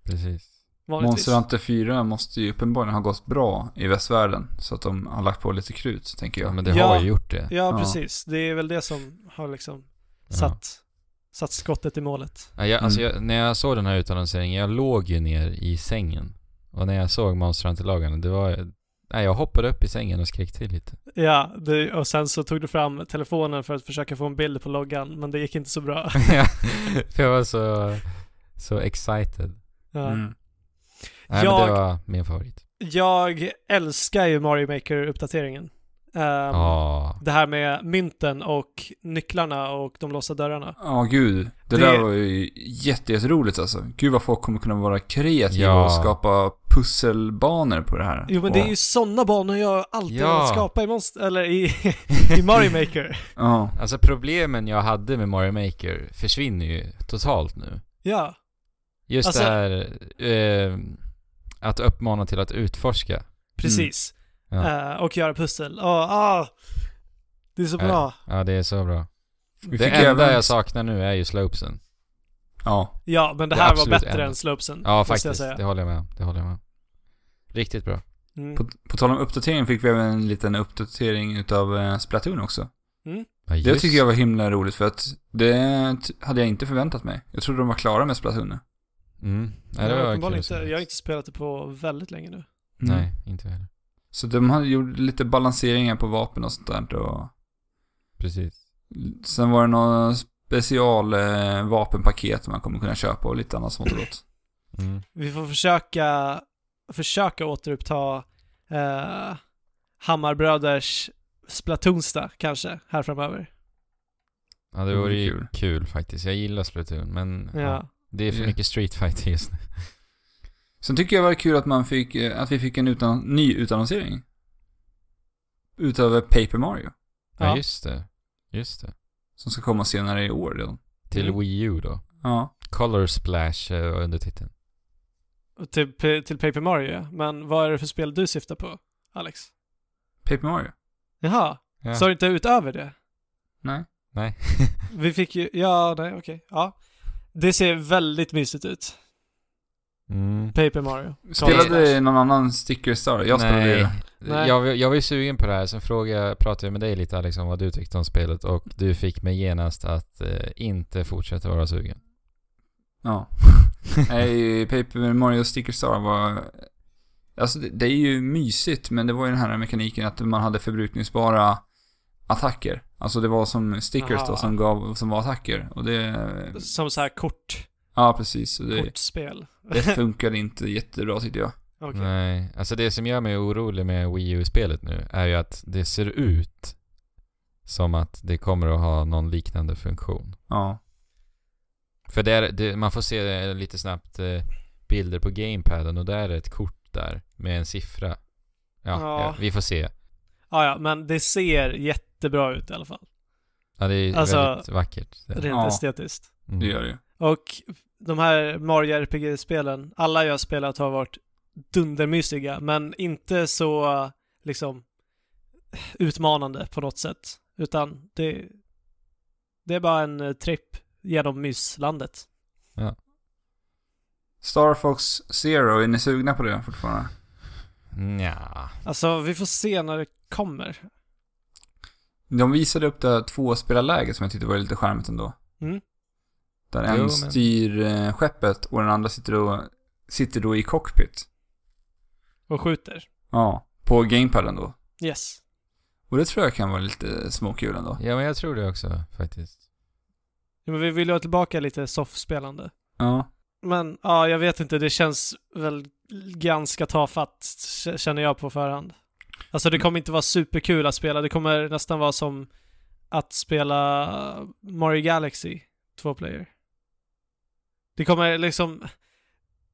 Precis.
Vanligtvis.
Monster Hunter 4 måste ju uppenbarligen ha gått bra i västvärlden. Så att de har lagt på lite krut, tänker
Ja,
jag.
men det
Ja.
har ju gjort det.
Ja,
Ja.
precis. Det är väl det som har liksom
Ja.
satt, satt skottet i målet.
Ja, jag, alltså
Mm.
jag, när jag såg den här utannonseringen, jag låg ju ner i sängen. Och när jag såg Monster Hunter-lagarna, det var... Nej, jag hoppade upp i sängen och skrek till lite.
Ja, det, och sen så tog du fram telefonen för att försöka få en bild på loggan, men det gick inte så bra.
Ja, för jag var så, så excited.
Ja.
Mm.
Nej, men
Jag-
det var min favorit.
Jag älskar ju Mario Maker-uppdateringen. Ehm,
Ja.
Det här med mynten och nycklarna och de låsta dörrarna.
Ja, gud. Det,
Det-
där var ju jätte- jätteroligt alltså. Gud vad folk kommer kunna vara kreativa
Ja.
och skapa pusselbanor på det här.
Jo men det är ju sådana banor jag alltid
Ja.
har velat skapa i Monster, eller i, i Mario Maker.
Ja.
Alltså problemen jag hade med Mario Maker försvinner ju totalt nu.
Ja,
Just
Alltså-
det här eh, att uppmana till att utforska.
precis.
Mm.
Eh, och göra pussel. Oh, ah, det är så
Nej.
bra.
Ja, det är så bra.
Vi
det
fick
enda
även-
jag saknar nu är ju slopesen.
Ja.
Ja, men det
Det är
här var
absolut
bättre
en.
än slopesen.
Ja,
måste jag
faktiskt.
säga.
Det håller jag med om. Det håller jag med om. Riktigt bra.
Mm.
På, på tal om uppdatering fick vi även en liten uppdatering utav eh, Splatoon också.
Ja,
Det
just.
tycker jag var himla roligt för att det t- hade jag inte förväntat mig. Jag trodde de var klara med Splatoon nu.
Mm.
Jag,
Nej, det var
har
kul
uppenbarligen
att
inte,
se.
jag har inte Mm. spelat det på väldigt länge nu.
Nej, inte heller.
Mm. Så de hade gjort lite balanseringar på vapen och sånt där. Och
Precis.
sen var det några special eh, vapenpaket man kommer kunna köpa och lite annat smått och gott.
Mm.
Vi får försöka, försöka återuppta eh, Hammarbröders Splatoonsta kanske, här framöver.
Ja, Mm, det
Det
vore
vore
ju kul.
Mm, kul.
faktiskt. Jag gillar Splatoon, men
Ja.
ja, det är för
Ja.
mycket Street Fighter just nu.
Sen tycker jag det var kul att man fick, eh, att vi fick en utan, ny utannonsering. Utav Paper Mario.
Ja,
Ja.
just det. Just det.
Som ska komma senare i år redan.
Till
Mm.
Wii U då.
Ja.
Color Splash eh, var undertiteln.
Till, till Paper Mario, ja. Men vad är det för spel du syftar på, Alex?
Paper Mario.
Jaha,
Ja.
sa du inte utöver det?
Nej.
Nej.
Vi fick ju, ja, nej, okej, ja. Det ser väldigt mysigt ut.
Mm.
Paper Mario.
Spelade någon annan Sticker Star? Jag spelade
Nej.
det.
Nej.
Jag, var- jag var ju sugen på det här, sen frågade, jag- pratade jag med dig lite Alex om vad du tyckte om spelet och du fick mig genast att eh, inte fortsätta vara sugen.
Ja. Nej, Paper Mario Sticker Star var Alltså det, det är ju mysigt, men det var ju den här mekaniken att man hade förbrukningsbara attacker. Alltså det var som stickers
Aha.
då som gav, som var attacker. Och det...
Som så här kort,
Ja, precis. Och Det,
kortspel.
det funkade inte jättebra tyckte jag.
Okej.
Nej, alltså det som gör mig orolig med Wii U-spelet nu är ju att det ser ut som att det kommer att ha någon liknande funktion.
Ja.
För där, det, man får se eh, lite snabbt eh, bilder på gamepaden och där är ett kort där med en siffra. Ja,
Ja.
ja vi får se.
Ja, ja, men det ser jättebra ut i alla fall.
Ja, det är
Alltså,
väldigt vackert.
Rent
Ja.
estetiskt.
Mm.
Det gör det ju.
Och de här Mario RPG-spelen, alla jag har spelat har varit dundermysiga, men inte så liksom utmanande på något sätt. Utan det, det är bara en eh, tripp genom myslandet.
Star Fox Zero, är ni sugna på det fortfarande?
Mm. Nja.
Alltså, vi får se när det kommer.
De visade upp det här tvåspelarläget som jag tyckte var lite charmigt ändå.
Mm.
Där
Jo,
en
men-
styr eh, skeppet och den andra sitter då, sitter då i cockpit.
Och skjuter.
Ja, på gamepaden då.
Yes.
Och det tror jag kan vara lite småkul ändå.
Ja, men jag tror det också faktiskt.
Ja, men vi vill ju ha tillbaka lite soffspelande.
Ja.
Men ja, jag vet inte, det känns väl ganska tafatt k- känner jag på förhand. Alltså det kommer inte vara superkul att spela, det kommer nästan vara som att spela Mario Galaxy, två player. Det kommer liksom,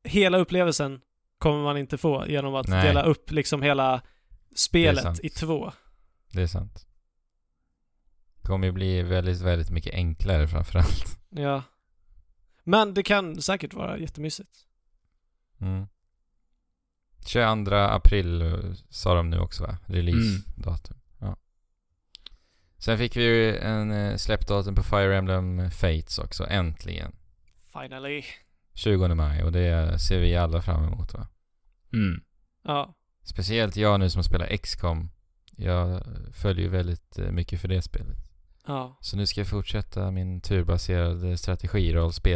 hela upplevelsen kommer man inte få genom att
Nej.
dela upp liksom hela
sant.
spelet i två.
Det är sant. Det kommer ju bli väldigt, väldigt mycket enklare framförallt.
Ja. Men det kan säkert vara jättemysigt.
Mm. 22 april eh, sa de nu också va? Release-datum.
Mm.
Ja. Sen fick vi ju en eh, släppdatum på Fire Emblem Fates också, äntligen.
Finally.
20 maj och det ser vi alla fram emot va?
Mm.
Ja.
Speciellt jag nu som spelar XCOM. Jag följer ju väldigt eh, mycket för det spelet.
Ja.
Så nu ska jag fortsätta min turbaserade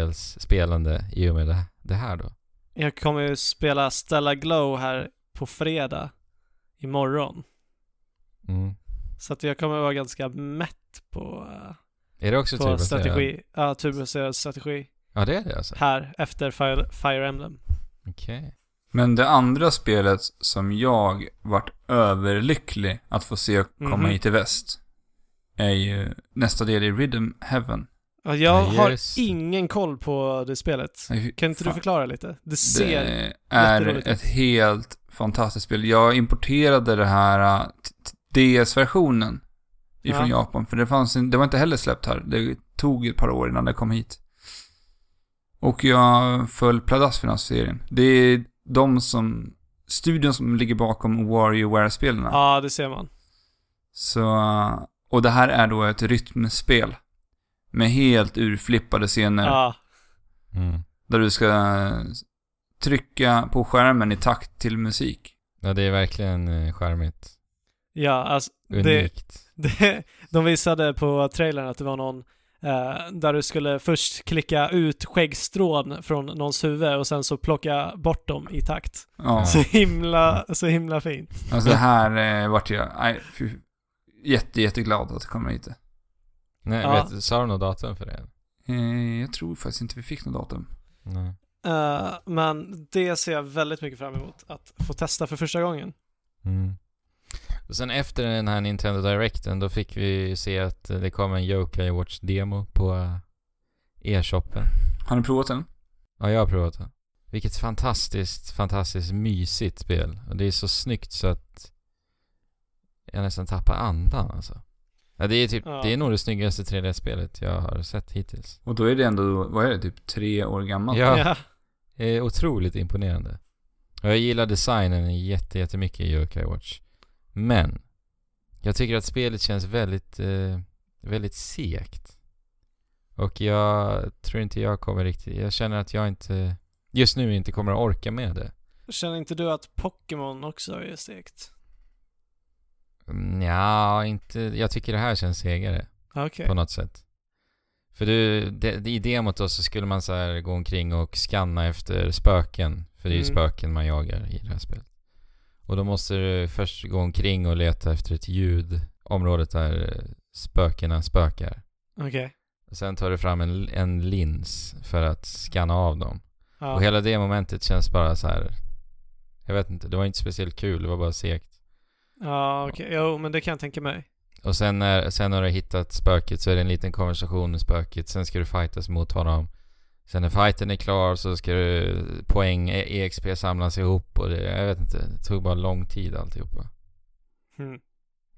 strategirollspelande i och med det- det här då.
Jag kommer ju spela Stella Glow här på fredag imorgon.
Mm.
Så att jag kommer vara ganska mätt på, eh,
Är det också
på
turbaserad?
strategi. Ja, turbaserad strategi
Ja, det är det alltså?
här efter Fire, Fire Emblem.
Okej.
Men det andra spelet som jag vart överlycklig att få se komma
Mhm.
hit i väst är ju nästa del i Rhythm Heaven.
Ja, jag
Ja,
har
just.
ingen koll på det spelet. Kan inte du förklara lite? Det ser...
Det är
jätteroligt
ett
ut.
helt fantastiskt spel. Jag importerade det här äh, t- t- DS-versionen ifrån
Ja.
Japan, för det, fanns, en- det var inte heller släppt här. Det tog ett par år innan det kom hit. Och jag föll pladask för den här serien. Det är de som... Studion som ligger bakom WarioWare-spelen.
Ja, det ser man.
Så, och det här är då ett rytmspel. Med helt urflippade scener.
Ja.
Mm.
Där du ska eh, trycka på skärmen i takt till musik.
Ja, det är verkligen eh, charmigt.
Ja, alltså, det,
Unikt.
det, de visade på trailern att det var någon eh, där du skulle först klicka ut skäggstrån från någons huvud och sen så plocka bort dem i takt.
Ja.
Så himla, så himla fint.
Alltså det här eh, vart jag nej, fy, jätte, jätteglad att det kommer hit.
Nej,
Ja.
vet, sa de något datum för det?
Eh, jag tror faktiskt inte vi fick något datum.
Nej.
Eh, men det ser jag väldigt mycket fram emot att få testa för första gången.
Mm. Och sen efter den här Nintendo Directen, då fick vi se att eh, det kom en Yokai Watch-demo på eh, e-shoppen.
Har ni provat den?
Ja, jag har provat den. Vilket fantastiskt, fantastiskt mysigt spel. Och det är så snyggt så att jag nästan tappar andan alltså. Ja, det är typ,
Ja.
det är nog det snyggaste 3D-spelet jag har sett hittills.
Och då är det ändå, vad är det, typ tre år gammalt?
Ja.
Ja.
Det är otroligt imponerande. Och jag gillar designen jätte, jättemycket i Yokai Watch. Men, jag tycker att spelet känns väldigt, eh, väldigt segt. Och jag tror inte jag kommer riktigt, jag känner att jag inte, just nu inte kommer att orka med det.
Känner inte du att Pokémon också är segt?
Mm, Ja, inte, jag tycker det här känns segare
Okej.
på något sätt. För du, de, de, i demot då så skulle man så här gå omkring och skanna efter spöken. För det är ju
Mm.
spöken man jagar i det här spelet. Och då måste du först gå omkring och leta efter ett ljud. Området där eh, spökena spökar.
Okej.
Och sen tar du fram en, en lins för att skanna av dem.
Ja.
Och hela det momentet känns bara så här. Jag vet inte, det var inte speciellt kul, det var bara segt.
Ja, okej. Jo, men det kan jag tänka mig.
Och sen när, sen när du har hittat spöket så är det en liten konversation med spöket. Sen ska du fightas mot honom. Sen när fighten är klar så ska du poäng, E- EXP samlas ihop och det, jag vet inte, det tog bara lång tid alltihopa.
Mm.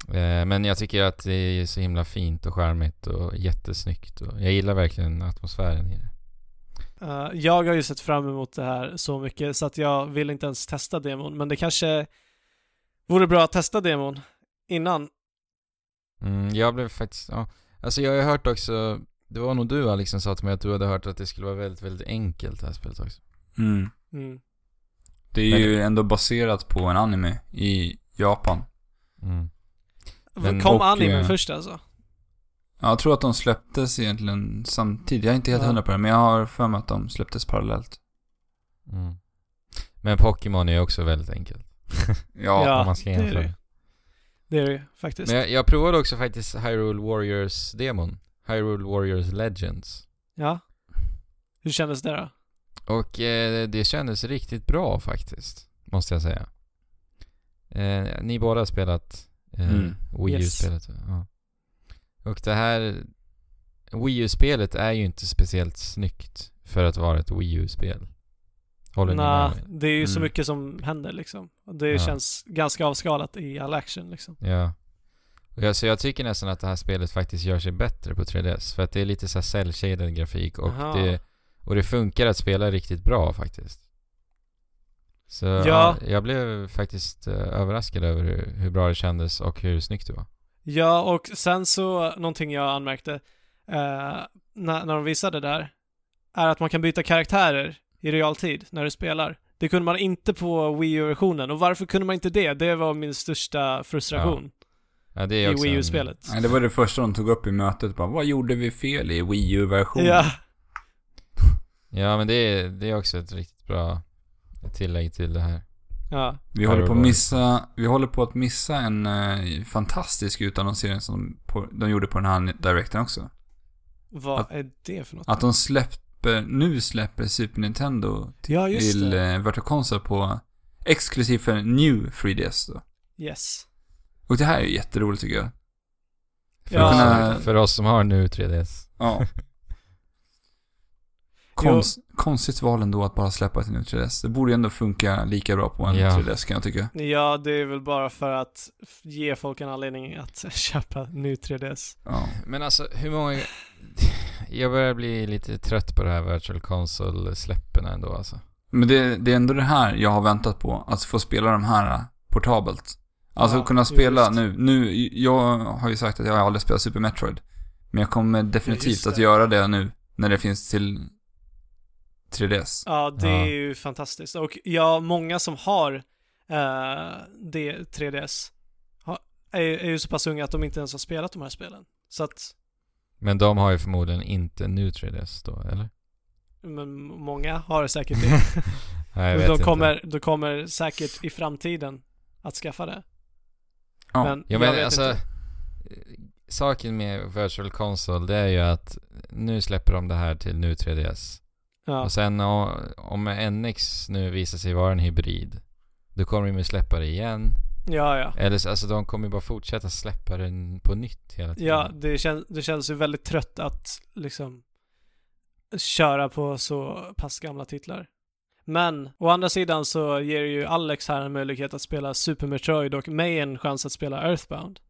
Eh, Men jag tycker att det är så himla fint och charmigt och jättesnyggt. Och jag gillar verkligen atmosfären i det.
Eh, jag har ju sett fram emot det här så mycket så att jag vill inte ens testa demon, men det kanske vore bra att testa demon innan.
Mm, jag blev faktiskt, ja. Alltså jag har ju hört också, det var nog du Alex som sa till mig att du hade hört att det skulle vara väldigt, väldigt enkelt det här spelet också.
Mm.
Mm.
Det är ju ändå baserat på en anime i Japan.
Mm, Men-
Kom
och,
animen
eh,
först alltså?
Ja, Jag tror att de släpptes egentligen samtidigt. Jag är inte helt
Ja.
hundra på det, men jag har för mig att de släpptes parallellt.
Mm. Men Pokémon är ju också väldigt enkelt.
Ja.
Ja,
om man ska
det är
jämföra.
det. Det är det ju faktiskt.
Men jag, jag provade också faktiskt Hyrule Warriors-demon. Hyrule Warriors Legends.
Ja. Hur kändes det då?
Och eh, det kändes riktigt bra faktiskt, måste jag säga. Eh, ni båda har spelat eh,
Mm.
Wii
Yes.
U-spelet. Ja. Och det här Wii U-spelet är ju inte speciellt snyggt för att vara ett Wii U-spel. Håller ni
Nja,
med? mig?
det är ju så
Mm.
mycket som händer liksom. Och Det
Ja.
känns ganska avskalat i all action liksom.
Ja. Och jag, så jag tycker nästan att det här spelet faktiskt gör sig bättre på 3DS. För att det är lite så här cell-shaded grafik och
Aha.
det, och det funkar att spela riktigt bra faktiskt. Så ja.
Ja.
jag blev faktiskt eh, överraskad över hur, hur bra det kändes och hur snyggt det var.
Ja, och sen så, någonting jag anmärkte eh, när, när de visade det där, är att man kan byta karaktärer i realtid när du spelar. Det kunde man inte på Wii U-versionen. Och varför kunde man inte det? Det var min största frustration
Ja, det är
i
också
Wii
en-
U-spelet.
Nej, det var det första de tog upp i mötet. Bara, vad gjorde vi fel i Wii U-versionen?
Ja,
Ja, men det är, det är också ett riktigt bra tillägg till det här.
ja.
Vi
Ja,
håller,
det
på att
var det.
missa, vi håller på att missa en eh, fantastisk utannonsering som på, de gjorde på den här directen också.
Vad
Att-
är det för något?
Att de släpper, nu släpper Super Nintendo
ja, just
till
det.
eh, Virtual Console på exklusivt för New 3DS då.
Yes.
Och det här är ju jätteroligt tycker jag.
För,
Ja.
oss, för oss som har nu 3DS.
Ja. Konst, konstigt val ändå att bara släppa till New 3DS. Det borde ju ändå funka lika bra på en
Ja.
3DS kan jag tycka.
Ja, det är väl bara för att f- ge folk en anledning att köpa ny 3DS.
Ja.
Men alltså hur många... Jag börjar bli lite trött på det här Virtual Console-släppen ändå alltså.
Men det, det är ändå det här jag har väntat på. Att få spela de här eh, portabelt. Alltså
Ja,
kunna spela
just.
nu. Nu, jag har ju sagt att jag aldrig spelat Super Metroid. Men jag kommer definitivt
just
att
det.
göra det nu. När det finns till 3DS.
Ja, det
Ja.
är ju fantastiskt. Och ja, många som har eh, det 3DS har, är, är ju så pass unga att de inte ens har spelat de här spelen. Så att,
Men de har ju förmodligen inte nu 3DS då, eller?
men många har säkert det.
Nej, jag
Och
vet
de,
inte.
kommer, de kommer säkert i framtiden att skaffa det.
Ja.
Men
Ja,
jag
men
vet
alltså,
inte.
saken med Virtual Console det är ju att nu släpper de det här till nu 3DS.
Ja,
Och sen o- om NX nu visar sig vara en hybrid, då kommer de ju släppa det igen.
ja, ja.
Eller så- alltså de kommer ju bara fortsätta släppa den på nytt hela
Typ.
tiden.
Ja, det, kän, det känns ju väldigt trött att liksom köra på så pass gamla titlar. Men å andra sidan så ger ju Alex här en möjlighet att spela Super Metroid och mig en chans att spela Earthbound.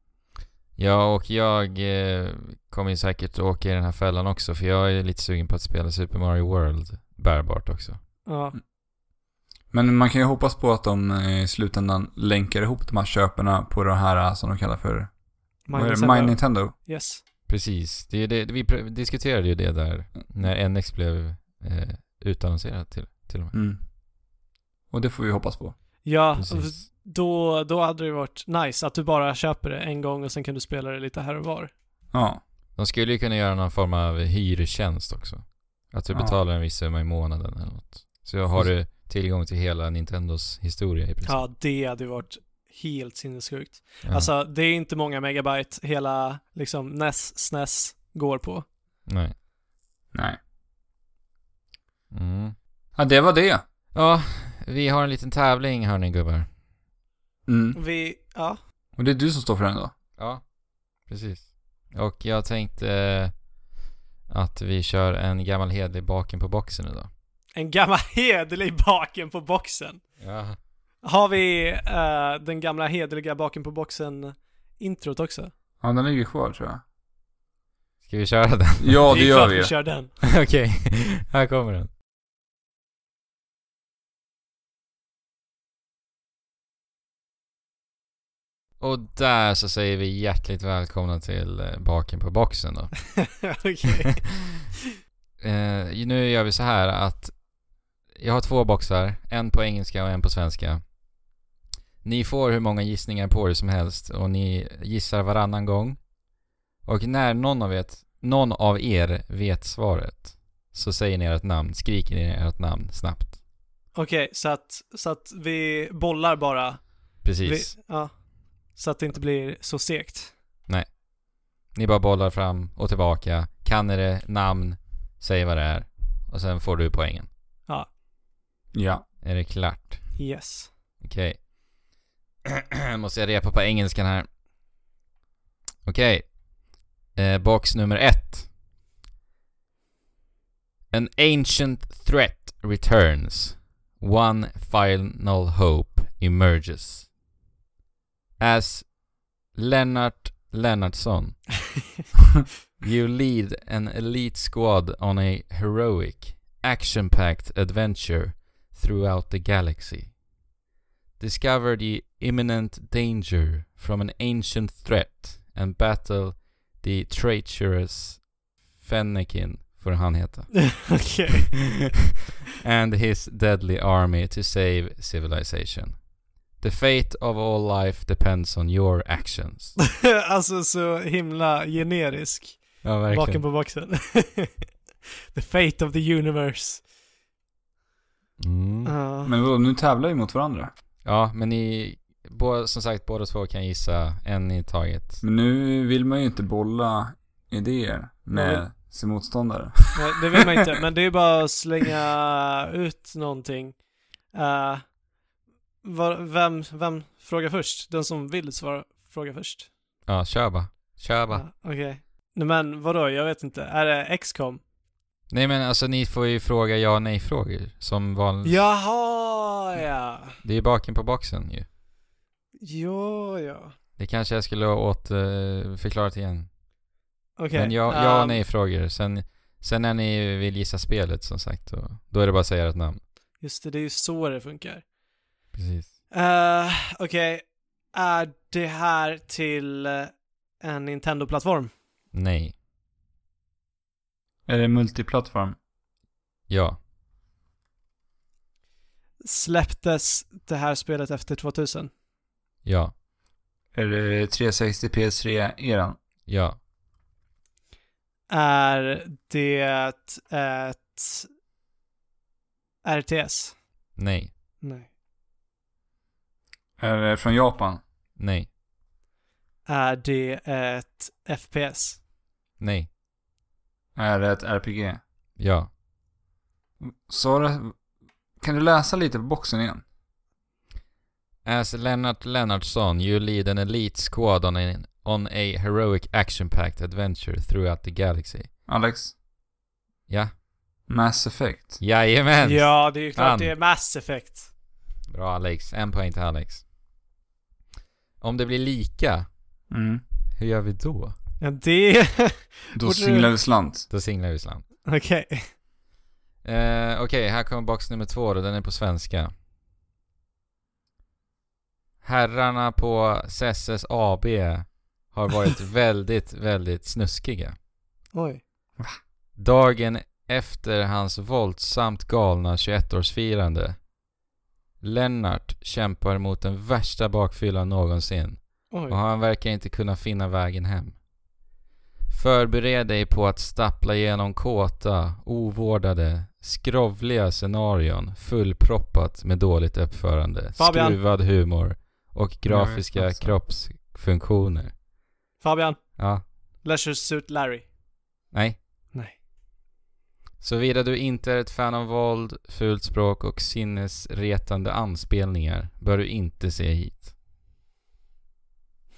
Ja, och jag eh, kommer ju säkert åka i den här fällan också, för jag är lite sugen på att spela Super Mario World bärbart också.
Ja,
Mm. Men man kan ju hoppas på att de eh, i slutändan länkar ihop de här köperna på det här eh, som de kallar för Vad är
Magnus
det? My
Hedberg.
Nintendo.
Yes.
Precis, det är det, vi pr- diskuterade ju det där när NX blev eh, utannonserad till, till och med.
Mm. Och det får vi hoppas på.
Ja,
Precis.
då, då hade det varit nice att du bara köper det en gång och sen kan du spela det lite här och var.
Ja.
De skulle ju kunna göra någon form av hyrtjänst också. Att du
Ja.
betalar en viss summa i månaden eller något. Så har du tillgång till hela Nintendos historia i princip.
Ja, det hade ju varit helt sinnessjukt.
Ja.
Alltså, det är inte många megabyte hela liksom NES, SNES går på.
Nej.
Nej.
Mm.
Ja, det var det.
Ja, vi har en liten tävling hörni gubbar.
Mm.
Vi, ja.
Och det är du som står för den då?
Ja, precis. Och jag tänkte eh, att vi kör en gammal hederlig baken på boxen idag.
En gammal hederlig baken på boxen.
Ja.
Har vi eh, den gamla hederliga baken på boxen introt också?
Ja, den ligger kvar tror jag.
Ska vi köra den?
Ja, det
är klart
gör vi
vi kör den.
Okej, här kommer den. Och där så säger vi hjärtligt välkomna till eh, baken på boxen då.
Okej.
Eh, nu gör vi så här att jag har två boxar, en på engelska och en på svenska. Ni får hur många gissningar på er som helst och ni gissar varannan gång. Och när någon av, vet, någon av er vet svaret så säger ni ert namn, skriker ni ert namn snabbt.
Okej, så att, så att vi bollar bara. Vi,
Precis.
ja. Så att det inte blir så segt.
Ni bara bollar fram och tillbaka. Kan ni det, namn, säg vad det är. Och sen får du poängen.
Ja.
Är det klart?
Yes.
Okej. Måste jag repa på engelskan här. Okej. Eh, box nummer ett. An ancient threat returns. One final hope emerges. As Lennart Lennartsson, you lead an elite squad on a heroic, action-packed adventure throughout the galaxy discover the imminent danger from an ancient threat and battle the traitorous Fennekin, får han heta,
Okej.
and his deadly army to save civilization. The fate of all life depends on your actions.
alltså så himla generisk.
Ja,
Baken på boxen. the fate of the universe.
Mm.
Ja.
Men vadå, nu tävlar vi mot varandra.
Ja, men ni, bå- som sagt, båda två kan gissa en i taget.
Men nu vill man ju inte bolla idéer
Jag
med sin motståndare.
Nej, det vill man inte, men det är bara att slänga ut någonting. Eh, var, vem, vem frågar först? Den som vill svara frågar först.
Ja, kör bara. Kör bara.
Ja, Okej. Nej, men vadå, jag vet inte. Är det XCOM?
Nej men alltså ni får ju fråga ja nej frågor som vanligt.
Jaha, ja.
Det är baken på boxen ju.
Ja, ja.
Det kanske jag skulle ha åt, eh, förklarat igen.
Okej.
Men ja, ja
ehm,
nej frågor. Sen, sen när ni vill gissa spelet som sagt, då, då är det bara att säga ert namn.
Just det, det är ju så det funkar.
Precis.
Eh, Okej, är det här till eh, en Nintendo-plattform?
Nej.
Är det multiplattform?
Ja.
Släpptes det här spelet efter 2000?
Ja.
Är det 360 PS3-eran?
Ja.
Är det ett RTS?
Nej.
Nej.
Är det från Japan?
Nej.
Är det ett FPS?
Nej.
Är det ett RPG?
Ja.
Sa du... Kan du läsa lite på boxen igen?
As Lennart Lennartsson, you lead an elite squad on a, on a heroic action-packed adventure throughout the galaxy.
Alex?
Ja.
Mass Effect?
Jajamän!
Ja, det är ju klart
Fan.
det är Mass Effect.
Bra Alex, en poäng till Alex. Om det blir lika,
Mm.
hur gör vi då?
Ja, det...
Då
Borde-
singlar vi slant.
Då singlar vi slant.
Okej.
Eh, Okej, här kommer box nummer två då, den är på svenska. Herrarna på Sesses AB har varit väldigt, väldigt snuskiga.
Oj.
Dagen efter hans våldsamt galna 21-årsfirande. Lennart kämpar mot den värsta bakfyllan någonsin.
Oj.
och han verkar inte kunna finna vägen hem. Förbered dig på att stappla genom kåta, ovårdade, skrovliga scenarion fullproppat med dåligt uppförande,
Fabian.
skruvad humor och
Ja,
grafiska
jag vet också.
kroppsfunktioner.
Fabian,
Ja,
Leisure Suit Larry.
nej.
Nej.
Såvida du inte är ett fan av våld, fult språk och sinnesretande anspelningar bör du inte se hit.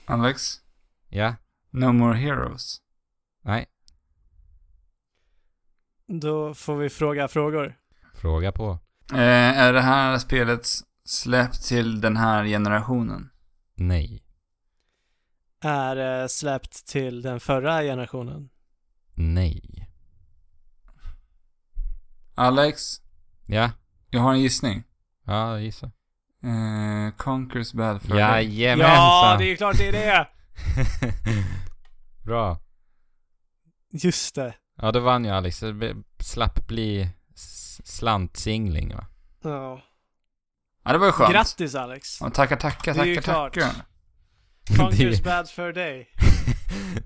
Alex,
Ja?
No More Heroes.
Nej?
Då får vi fråga frågor.
Fråga på.
Eh, är det här spelet släppt till den här generationen?
Nej.
Är eh, släppt till den förra generationen.
Nej.
Alex,
Ja?
jag har en gissning.
Ja, gissa.
Eh, Conquers Bad Fur Day.
Jajamensan!
Ja, det är ju klart det är det!
Bra.
Just det.
Ja, då vann jag Alex. Det be- slapp bli s- slantsingling va?
Ja.
Ja, det var ju skönt.
Grattis Alex!
Ja, tackar, tackar,
Det är ju
tackar,
klart.
tackar.
det,
Conquers
är,
Bad Fur Day.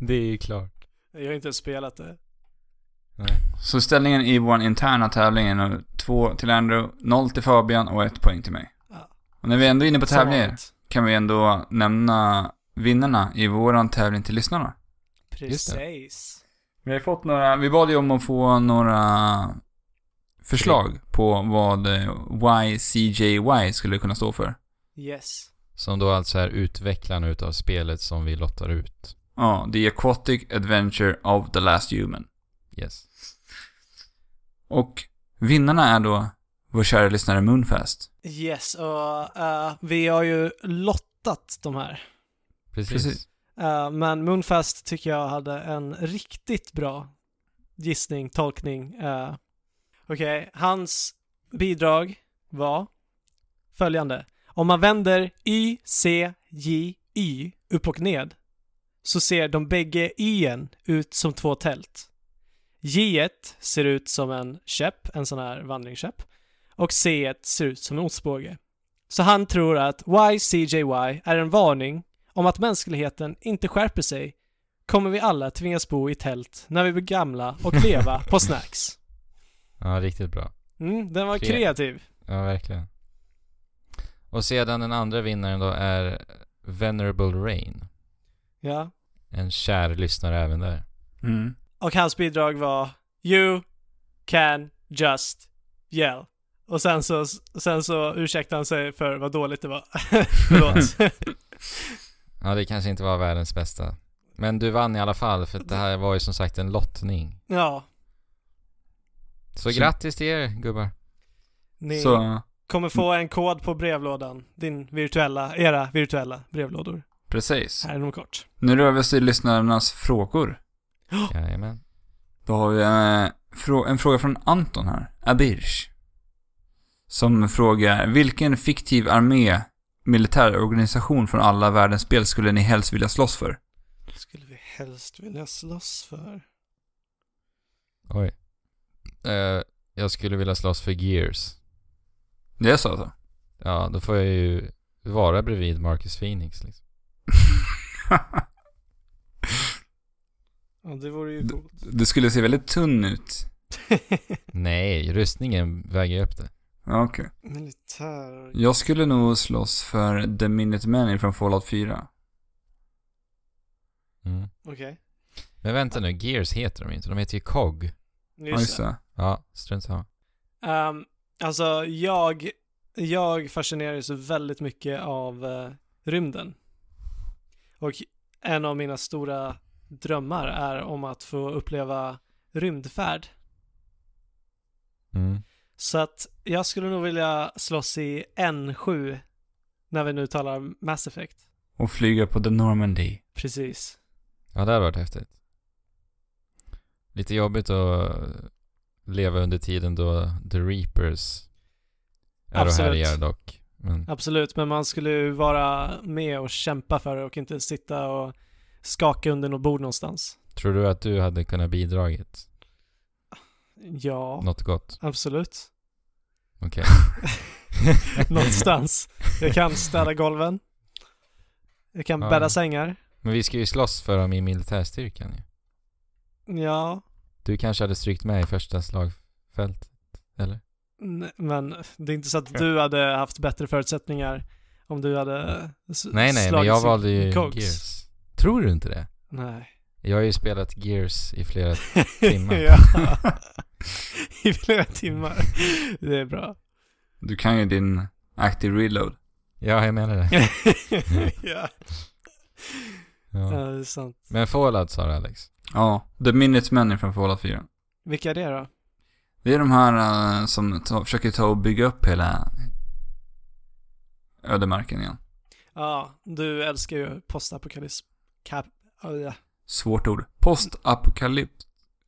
det är ju klart.
Jag har inte ens spelat det.
Så ställningen i vår interna tävling är nu 2 till Andrew, 0 till Fabian och 1 poäng till mig.
Ja.
Och när vi ändå är inne på
Som
tävlingar
vanligt.
kan vi ändå nämna vinnarna i våran tävling till lyssnarna.
Just det.
Precis.
Vi har fått några, vi bad ju om att få några förslag på vad eh, YCJY skulle kunna stå för.
Yes.
Som då alltså är utvecklaren utav spelet som vi lottar ut.
Ja, The Aquatic Adventure of the Last Human.
Yes.
Och vinnarna är då vår kära lyssnare Moonfast.
Yes, och eh, vi har ju lottat de här.
Precis.
Precis.
Eh, men Moonfest tycker jag hade en riktigt bra gissning, tolkning. eh. Okej, hans bidrag var följande. Om man vänder Y, C, J, Y upp och ned så ser de bägge Y'en ut som två tält. J ser ut som en käpp, en sån här vandringskäpp. Och C ser ut som en ostbåge. Så han tror att YCJY är en varning om att mänskligheten inte skärper sig kommer vi alla tvingas bo i tält när vi blir gamla och leva på snacks.
Ja, riktigt bra.
Mm, den var
Kre-
kreativ.
Ja, verkligen. Och sedan den andra vinnaren då är Venerable Rain.
Ja.
En kär lyssnare även där.
Mm.
Och hans bidrag var You can just yell. Och sen så, sen så ursäktade han sig för vad dåligt det var. Förlåt.
Ja, det kanske inte var världens bästa. Men du vann i alla fall för att det här var ju som sagt en lottning.
ja,
Så,
Så-
grattis till er gubbar.
ni
Så,
kommer få en kod på brevlådan. Din virtuella, era virtuella brevlådor.
precis.
Här inom kort.
Nu rör vi oss till lyssnarnas frågor.
Jajamän.
Då har vi eh, frå- en fråga från Anton här, Abirsh. Som frågar, vilken fiktiv armé, militärorganisation från alla världens spel skulle ni helst vilja slåss för?
Skulle vi helst vilja slåss för?
Oj. Eh, jag skulle vilja slåss för Gears.
Det är så alltså?
Ja, då får jag ju vara bredvid Marcus Phoenix liksom.
Ja, det vore ju coolt.
det skulle se väldigt tunn ut.
Nej, rustningen väger upp det.
Ja, Okej.
Militär...
Jag skulle nog slåss för The Minutemen från Fallout 4.
Mm.
Okej.
Men vänta nu, Gears heter de inte. De heter ju COG.
Ja,
Just
just
det.
det.
Ja, strunt samma.
Ehm, alltså, jag, jag fascineras väldigt mycket av eh, rymden. Och en av mina stora drömmar är om att få uppleva rymdfärd.
Mm.
Så att jag skulle nog vilja slåss i N7 när vi nu talar Mass Effect.
Och flyga på The Normandy.
Precis.
Ja, det hade varit häftigt. Lite jobbigt att leva under tiden då The Reapers är och
Absolut.
härjar dock. Men
Absolut, men man skulle ju vara med och kämpa för det och inte sitta och skaka under något bord någonstans.
tror du att du hade kunnat bidragit
Ja,
något gott?
absolut.
Okej.
Någonstans. Jag kan städa golven. Jag kan
Ja.
bädda sängar.
Men vi ska ju slåss för dem i militärstyrkan ju.
Ja,
Du kanske hade strykt med i första slagfältet? Eller?
Nej, Men det är inte så att du hade haft bättre förutsättningar om du hade s-
Nej, nej, men
slagits
jag
i
valde ju
Cogs.
Gears. Tror du inte det?
Nej.
Jag har ju spelat Gears i flera... Timmar.
ja. I flera timmar. Det är bra.
Du kan ju din active reload.
Ja, jag menar det.
ja.
Ja.
ja, det är sant.
Men Fallout sa du Alex.
Ja, The Minutes Men från Fallout 4.
Vilka är det då?
Det är de här eh, som ta, försöker ta och bygga upp hela ödemarken igen.
Ja, du älskar ju postapokalyps. Kap... Oh, ja.
Svårt ord. Postapokalyps.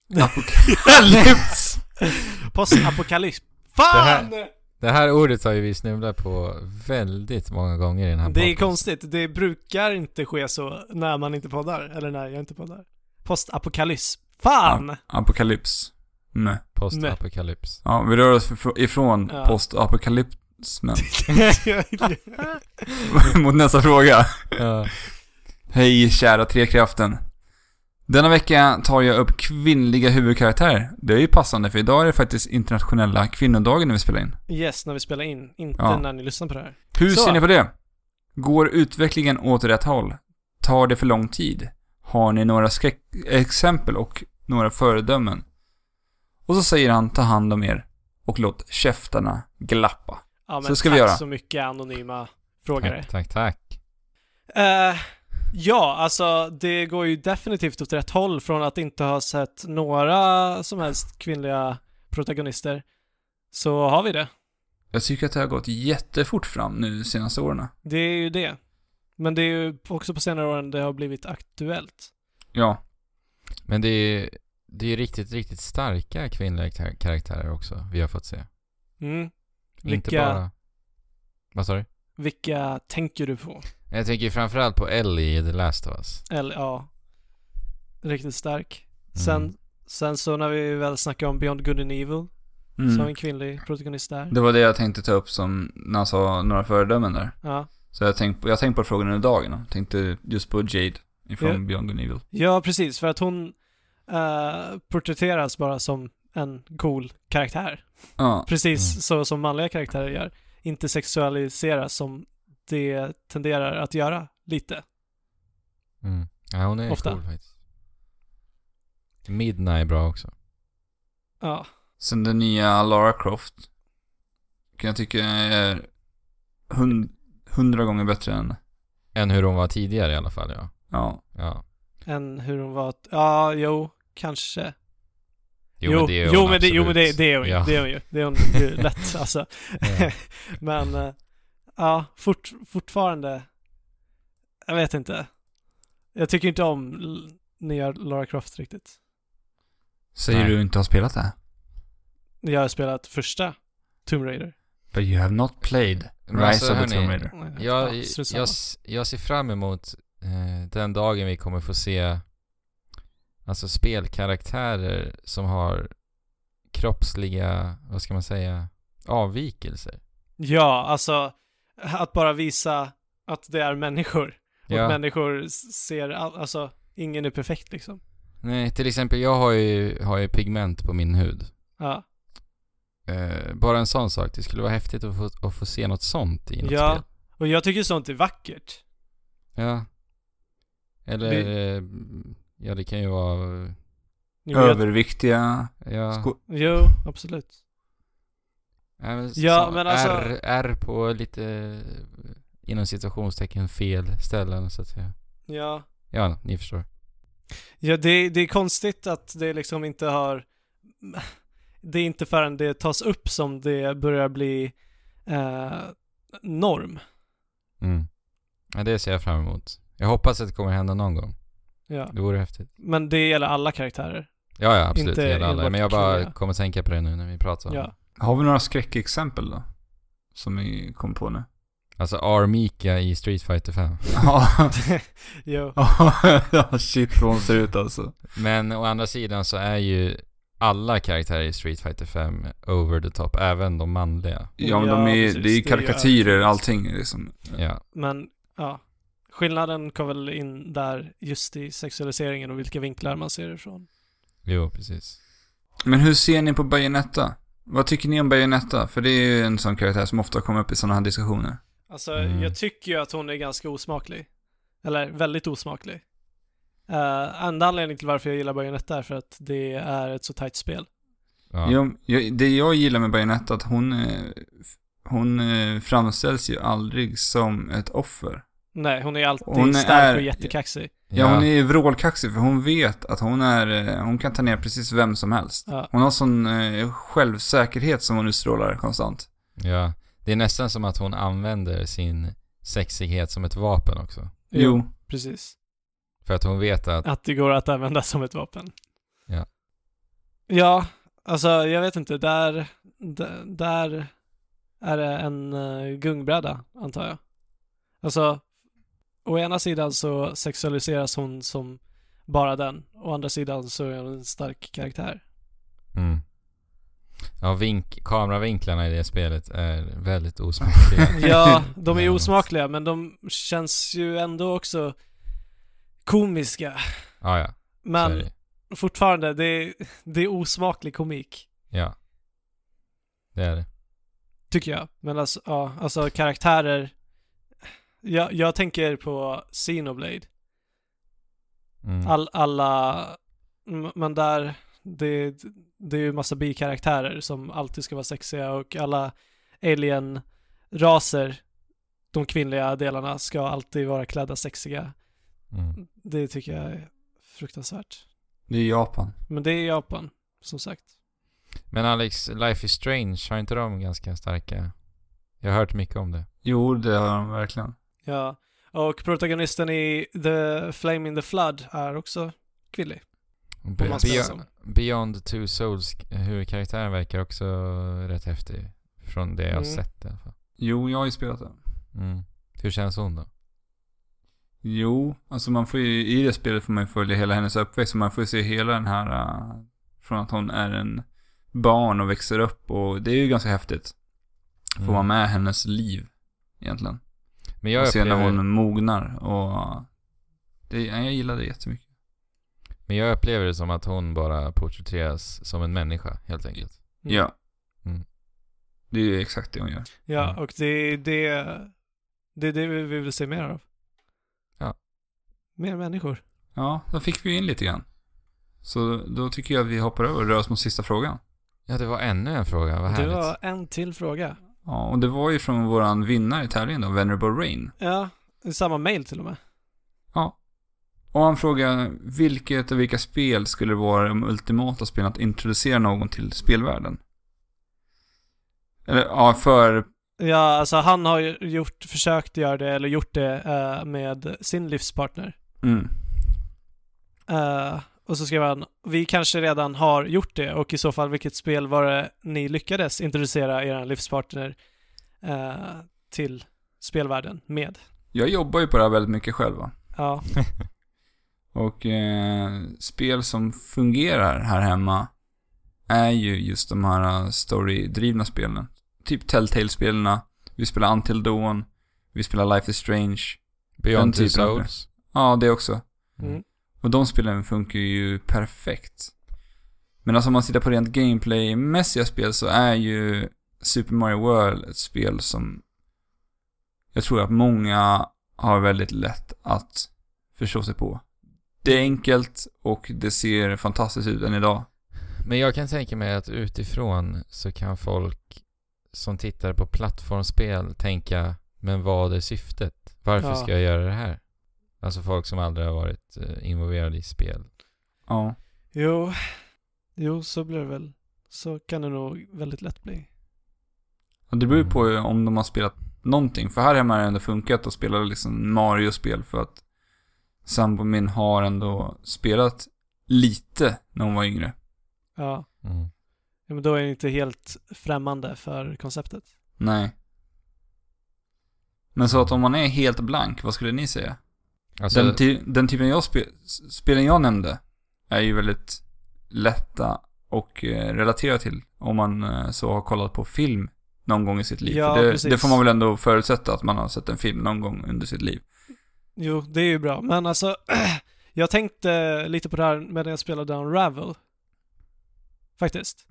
Apokalyps! Postapokalyps. Fan! Det,
Det här ordet har ju vi snubblat på väldigt många gånger i den här
är
podden.
konstigt. Det brukar inte ske så när man inte poddar. Eller när jag inte poddar. Postapokalyps. Fan!
Apokalyps. Nej.
Postapokalyps.
Ja, vi rör oss ifr- ifrån
Ja.
postapokalypsmen mot nästa fråga.
Ja.
Hej kära Trekraften. Denna vecka tar jag upp kvinnliga huvudkaraktärer. Det är ju passande för idag är det faktiskt internationella kvinnodagen när vi spelar in.
yes, när vi spelar in. Inte
Ja.
när ni lyssnar på det här.
Hur
Så.
ser ni på det? Går utvecklingen åt rätt håll? Tar det för lång tid? Har ni några skräck- exempel och några föredömen? Och så säger han, ta hand om er och låt käftarna glappa.
Ja, men
Så ska
tack
vi göra.
så mycket anonyma frågare.
Tack, tack, tack.
Eh, ja, alltså det går ju definitivt åt rätt håll från att inte ha sett några som helst kvinnliga protagonister. Så har vi det.
Jag tycker att det har gått jättefort fram nu de senaste åren.
Det är ju det. Men det är ju också på senare åren det har blivit aktuellt.
Ja,
Men det är ju det är ju riktigt, riktigt starka kvinnliga kar- karaktärer också vi har fått se.
Mm.
Inte
Vilka,
bara... Vad sa du?
vilka tänker du på?
Jag tänker ju framförallt på Ellie i The Last of Us.
Eller ja, riktigt stark.
Mm.
Sen, sen så när vi väl snackar om Beyond Good and Evil, så
Mm.
har vi en kvinnlig protagonist där.
Mm. det var det jag tänkte ta upp som, när han sa några föredömen där.
Ja.
Så jag tänkte på, jag tänkte på frågan under dagen och tänkte just på Jade ifrån
Ja.
Beyond Good and Evil.
Ja, precis. För att hon eh, porträtteras bara som en cool karaktär.
Ja,
Precis
Mm.
så som manliga karaktärer gör. Inte sexualiseras som det tenderar att göra lite.
Mm. Ja, hon är
Ofta.
cool faktiskt. Midna är bra också.
Ja,
sen den nya Lara Croft. Kan jag tycka är hund, hundra gånger bättre än,
Än hur hon var tidigare i alla fall, ja.
ja.
ja.
än hur hon var. Ja, jo, kanske.
är
jo,
hon
men, det, jo,
absolut.
men det, det är hon ju.
Ja.
Det är hon ju. Det är hon ju lätt alltså.
Ja.
Men, eh, ja, fort, fortfarande. Jag vet inte. Jag tycker inte om l- nya Lara Croft riktigt.
Säger
Nej.
du inte har spelat det?
Jag har spelat första Tomb Raider.
But you have not played
Men
Rise
alltså,
of the
hörni,
Tomb Raider.
Jag,
Ja, strunt samma.
jag, s- jag ser fram emot eh, den dagen vi kommer få se alltså spelkaraktärer som har kroppsliga, vad ska man säga, avvikelser.
ja, alltså att bara visa att det är människor. Och att
Ja,
människor s- ser, all- alltså ingen är perfekt liksom.
nej, till exempel jag har ju, har ju pigment på min hud.
Ja,
Eh, bara en sån sak. Det skulle vara häftigt att få, att få se något sånt i något
Ja.
spel.
och jag tycker sånt är vackert.
Ja. Eller, eh, ja det kan ju vara,
Jo, jag,
Överviktiga...
ja.
Sko-
jo absolut.
Ja, men,
Ja,
så,
men alltså-
R, R på lite eh, inom citationstecken fel ställen så att säga.
Ja,
Ja, ni förstår.
ja det, det är konstigt att det liksom inte har... Det är inte förrän det tas upp som det börjar bli eh, norm.
Mm. Ja, det ser jag fram emot. Jag hoppas att det kommer hända någon gång.
Ja.
Det vore häftigt.
Men det gäller alla karaktärer.
Ja, ja absolut.
Inte
Inte alla.
enbart
Men jag bara
kvinnliga.
kommer tänka på det nu när vi pratar om det.
Ja.
Har vi några skräckexempel då? Som vi kom på nu.
Alltså Armika i Street Fighter 5.
Ja.
jo.
Ja, shit vad hon ser ut alltså.
Men å andra sidan så är ju alla karaktärer i Street Fighter 5 over the top, även de manliga.
Ja, men de är,
precis.
det är ju
Det är
karikatyrer
ju-
allting liksom.
Ja.
Men ja, skillnaden kom väl in där just i sexualiseringen och vilka vinklar man ser det ifrån.
Jo, precis.
Men hur ser ni på Bayonetta? Vad tycker ni om Bayonetta? För det är ju en sån karaktär som ofta kommer upp i sådana här diskussioner.
Alltså,
Mm.
jag tycker ju att hon är ganska osmaklig. Eller väldigt osmaklig. Uh, enda anledningen till varför jag gillar Bayonetta är för att det är ett så tajt spel.
Ja.
Jag, jag, det jag gillar med Bayonetta är att hon, eh, f- hon eh, framställs ju aldrig som ett offer.
Nej, hon är alltid
Hon
stark
är-
och jättekaxig.
Ja, hon är ju vrålkaxig för hon vet att hon är, eh, hon kan ta ner precis vem som helst.
Ja.
Hon har sån eh, självsäkerhet som hon utstrålar konstant.
Ja. Det är nästan som att hon använder sin sexighet som ett vapen också.
Jo.
Precis.
För att hon vet att...
Att det går att använda som ett vapen.
Ja.
Ja, alltså jag vet inte. Där, där, där är det en eh, gungbräda, antar jag. Alltså, å ena sidan så sexualiseras hon som bara den. Å andra sidan så är hon en stark karaktär.
Mm. Ja, vink, kameravinklarna i det spelet är väldigt osmakliga.
Ja, de är ju
Ja.
osmakliga men de känns ju ändå också komiska.
ja, ja. Så är
Men
det.
fortfarande, det är, det är osmaklig komik.
Ja. Det är det.
Tycker jag. Men alltså, ja, alltså karaktärer. Jag, jag tänker på Xenoblade.
Mm.
All, alla, m- men där, det, det är ju massa bikaraktärer som alltid ska vara sexiga och alla alien-raser, de kvinnliga delarna, ska alltid vara klädda sexiga.
Mm.
Det tycker jag är fruktansvärt.
Det är Japan.
Men det är Japan, som sagt.
Men Alex, Life is Strange, har inte de ganska starka... Jag har hört mycket om det.
Jo, det har de verkligen.
Ja, och protagonisten i The Flame in the Flood är också kvinnlig.
Be-
man spelar
Beyond,
som.
Beyond Two Souls, huvudkaraktären verkar också rätt häftig. Från det jag har
Mm.
sett i alla fall.
Jo, jag har ju spelat det.
Mm. Hur känns hon då?
Jo, alltså man får ju, i det spelet får man ju följa hela hennes uppväxt. Så man får ju se hela den här, eh, från att hon är en barn och växer upp och det är ju ganska häftigt. Får vara med hennes liv, egentligen.
Men Mm. jag
och se när
upplever,
hon mognar och... Det, ja, jag gillar det jättemycket.
men jag upplever det som att hon bara porträtteras som en människa, helt enkelt.
Mm.
Ja.
Mm.
Det är ju exakt det hon gör.
Ja,
Mm.
och det är det, det, är det vi vill se mer av.
Ja.
Mer människor.
Ja, då fick vi in lite grann. Så då tycker jag att vi hoppar över och rör oss mot sista frågan.
Ja, det var ännu en fråga. Vad
Det
härligt.
var en till fråga.
Ja, och det var ju från våran vinnare i tävlingen då, Venerable Rain.
Ja, i samma mail till och med.
Och han frågar vilket och vilka spel skulle vara de ultimata spelen att introducera någon till spelvärlden? Eller ja, för...
Ja, alltså han har ju gjort, försökt göra det, eller gjort det eh, med sin livspartner.
Mm.
Eh, och så skrev han, vi kanske redan har gjort det och i så fall vilket spel var det ni lyckades introducera era livspartner eh, till spelvärlden med?
Jag jobbar ju på det här väldigt mycket själv va?
Ja,
Och eh, spel som fungerar här hemma är ju just de här eh, storydrivna spelen. Typ Telltale-spelen, vi spelar Until Dawn, vi spelar Life is Strange. den
Beyond Two
typen av-
Souls.
Ja, det också.
Mm.
Och de spelen funkar ju perfekt. Men alltså om man tittar på rent gameplaymässiga spel så är ju Super Mario World ett spel som jag tror att många har väldigt lätt att förstå sig på. Det är enkelt och det ser fantastiskt ut än idag.
Men jag kan tänka mig att utifrån så kan folk som tittar på plattformsspel tänka Men vad är syftet? Varför
Ja.
ska jag göra det här? Alltså folk som aldrig har varit eh, involverade i spel.
Ja.
jo, jo så blir det väl. Så kan det nog väldigt lätt bli.
Och det beror ju på om de har spelat någonting. För här hemma har det ändå funkat att spela liksom Mario-spel för att sambon min har ändå spelat lite när hon var yngre.
Ja,
Mm.
ja men då är det inte helt främmande för konceptet.
Nej. Men så att om man är helt blank, vad skulle ni säga?
Alltså,
den,
typ-
ty- den typen jag spe- s- spelen jag nämnde är ju väldigt lätta och eh, relatera till om man eh, så har kollat på film någon gång i sitt liv.
Ja,
För det,
precis.
det får man väl ändå förutsätta att man har sett en film någon gång under sitt liv.
Jo, det är ju bra, men alltså jag tänkte lite på det här medan jag spelade Unravel. Faktiskt.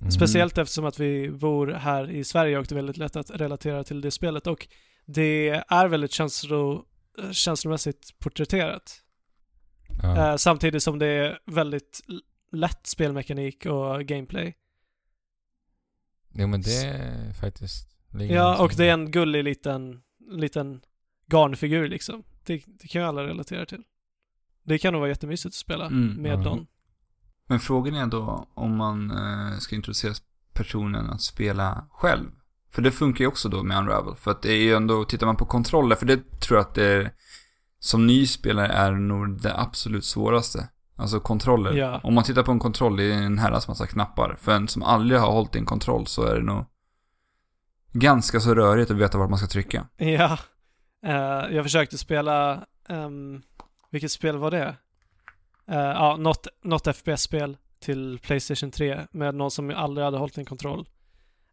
Mm.
Speciellt eftersom att vi bor här i Sverige och det är väldigt lätt att relatera till det spelet och det är väldigt känslo, känslomässigt porträtterat.
Ja.
Eh, samtidigt som det är väldigt l- lätt spelmekanik och gameplay.
Jo men det är faktiskt... ligger
Ja,
någonting
och
i
det är en gullig liten, liten garnfigur liksom. Det, det kan ju alla relatera till. Det kan nog vara jättemysigt att spela
Mm,
med
ja.
någon.
Men frågan är då om man eh, ska introducera personen att spela själv. För det funkar ju också då med Unravel. För att det är ju ändå, tittar man på kontroller, för det tror jag att det är, som ny spelare är nog det absolut svåraste. Alltså kontroller.
Ja.
Om man tittar på en kontroll, det är en herrans massa knappar. För en som aldrig har hållit i en kontroll så är det nog ganska så rörigt att veta vart man ska trycka.
Ja, Eh, jag försökte spela, ehm, vilket spel var det? Eh, Ja, något, något FPS-spel till Playstation 3 med någon som aldrig hade hållit en kontroll.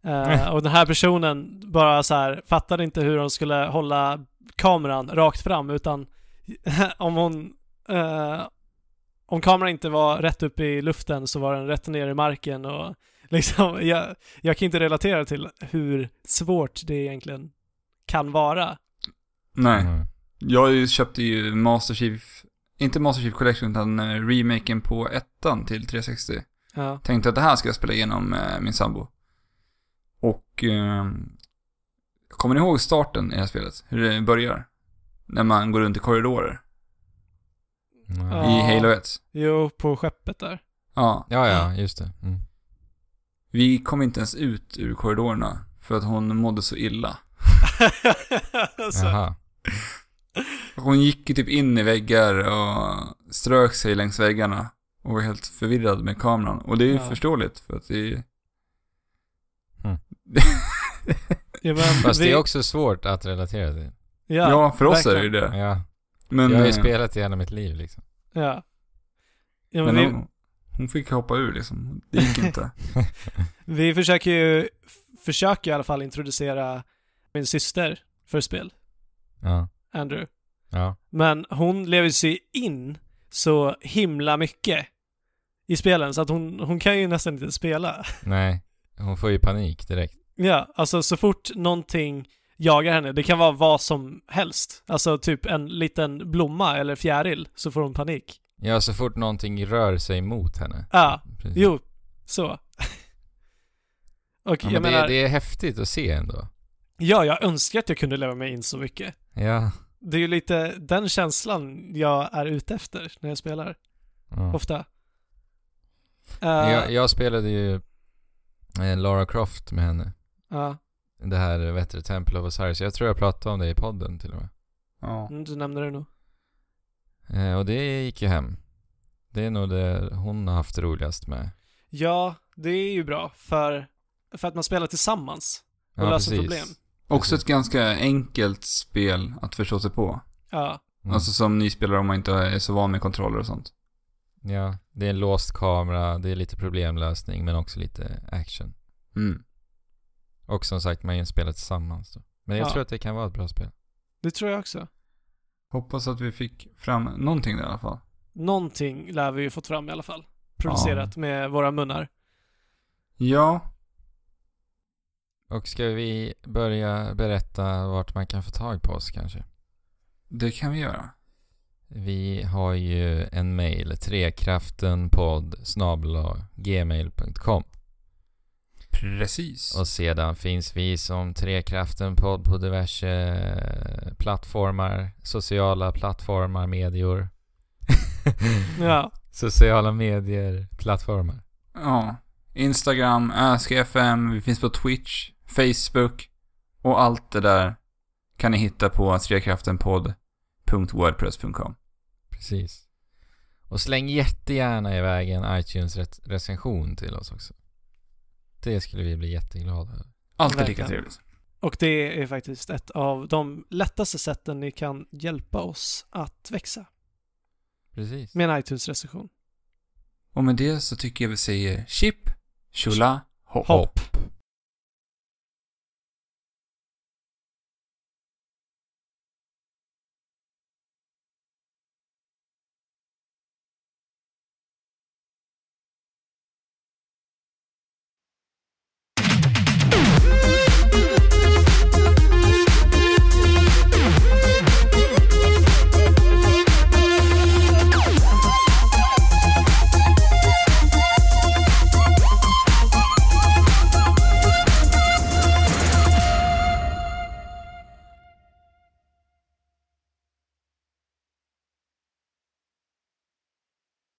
Eh, och den här personen bara så här fattade inte hur hon skulle hålla kameran rakt fram utan om hon eh, om kameran inte var rätt upp i luften så var den rätt ner i marken och liksom jag, jag kan inte relatera till hur svårt det egentligen kan vara.
Nej.
Mm.
Jag ju- köpte ju Master Chief, inte Master Chief Collection utan eh, remaken på ettan till 360.
Ja.
Tänkte att det här ska jag spela igenom eh, min sambo. Och... Eh, kommer ni ihåg starten i det här spelet? Hur det börjar? När man går runt i korridorer.
Ja. Mm.
Ja.
I Halo 1.
Jo, på skeppet där.
Ja.
ja, ja, just det. Mm.
Vi kom inte ens ut ur korridorerna. För att hon mådde så illa.
alltså,
Jaha.
Hon gick ju typ in i väggar och strök sig längs väggarna. Och var helt förvirrad med kameran. Och det är ju
Ja.
förståeligt för att det är...
Mm.
ja, men
Fast
vi-
det är också svårt att relatera till.
ja,
Ja, för oss är det ju
verkligen.
det.
Ja.
Men,
Jag har ju
eh,
spelat det hela mitt liv liksom.
Ja. ja men
men
vi,
hon, hon fick hoppa ur liksom. Det gick inte.
vi försöker ju, f- försöker i alla fall introducera min syster för spel,
Ja.
Andrew.
Ja.
Men hon lever sig in så himla mycket i spelen så att hon, hon kan ju nästan inte spela.
Nej. Hon får ju panik direkt.
Ja, alltså så fort någonting jagar henne, det kan vara vad som helst. Alltså typ en liten blomma eller fjäril, så får hon panik.
Ja, så fort någonting rör sig mot henne.
Ja, ah,
Precis.
jo, så. Och
Ja,
jag
men det,
menar,
det är häftigt att se ändå.
ja, jag önskar att jag kunde leva mig in så mycket.
Ja.
Det är ju lite den känslan jag är ute efter när jag spelar,
ja.
ofta. Eh, Ah.
Jag, jag spelade ju eh, Lara Croft med henne.
ja,
Det här, vad heter det, Temple of Osiris. Jag tror jag pratade om det i podden till och med.
Ja.
mm, du nämnde det nog.
Eh, och det gick ju hem. Det är nog det hon har haft roligast med.
Ja, det är ju bra för, för att man spelar tillsammans.
Ja,
Och lösa problem.
Också ett ganska enkelt spel att förstå sig på.
Ja,
Mm.
Alltså som nyspelare om man inte är så van med kontroller och sånt.
Ja, det är en låst kamera, det är lite problemlösning men också lite action.
Mm.
Och som sagt, man spelar tillsammans då. Men jag
Ja.
tror att det kan vara ett bra spel.
det tror jag också.
Hoppas att vi fick fram någonting där i alla fall.
Någonting lär vi ju fått fram i alla fall. Producerat med våra munnar.
Ja,
Och ska vi börja berätta vart man kan få tag på oss kanske?
det kan vi göra.
Vi har ju en mail, trekraftenpodd gmail.com
Precis.
och sedan finns vi som Trekraftenpodd på diverse plattformar, sociala plattformar, medior.
Ja,
Sociala medier, plattformar.
Ja. Instagram, ÖSKFM, vi finns på Twitch, Facebook och allt det där kan ni hitta på trekraftenpodd.wordpress.com.
Precis. Och släng jättegärna iväg en iTunes-recension till oss också. Det skulle vi bli jätteglada över.
Alltid lika
Verkligen.
trevligt.
och det är faktiskt ett av de lättaste sätten ni kan hjälpa oss att växa
Precis.
med en iTunes-recension.
Och med det så tycker jag vi säger chip, chula, hopp.
Hopp!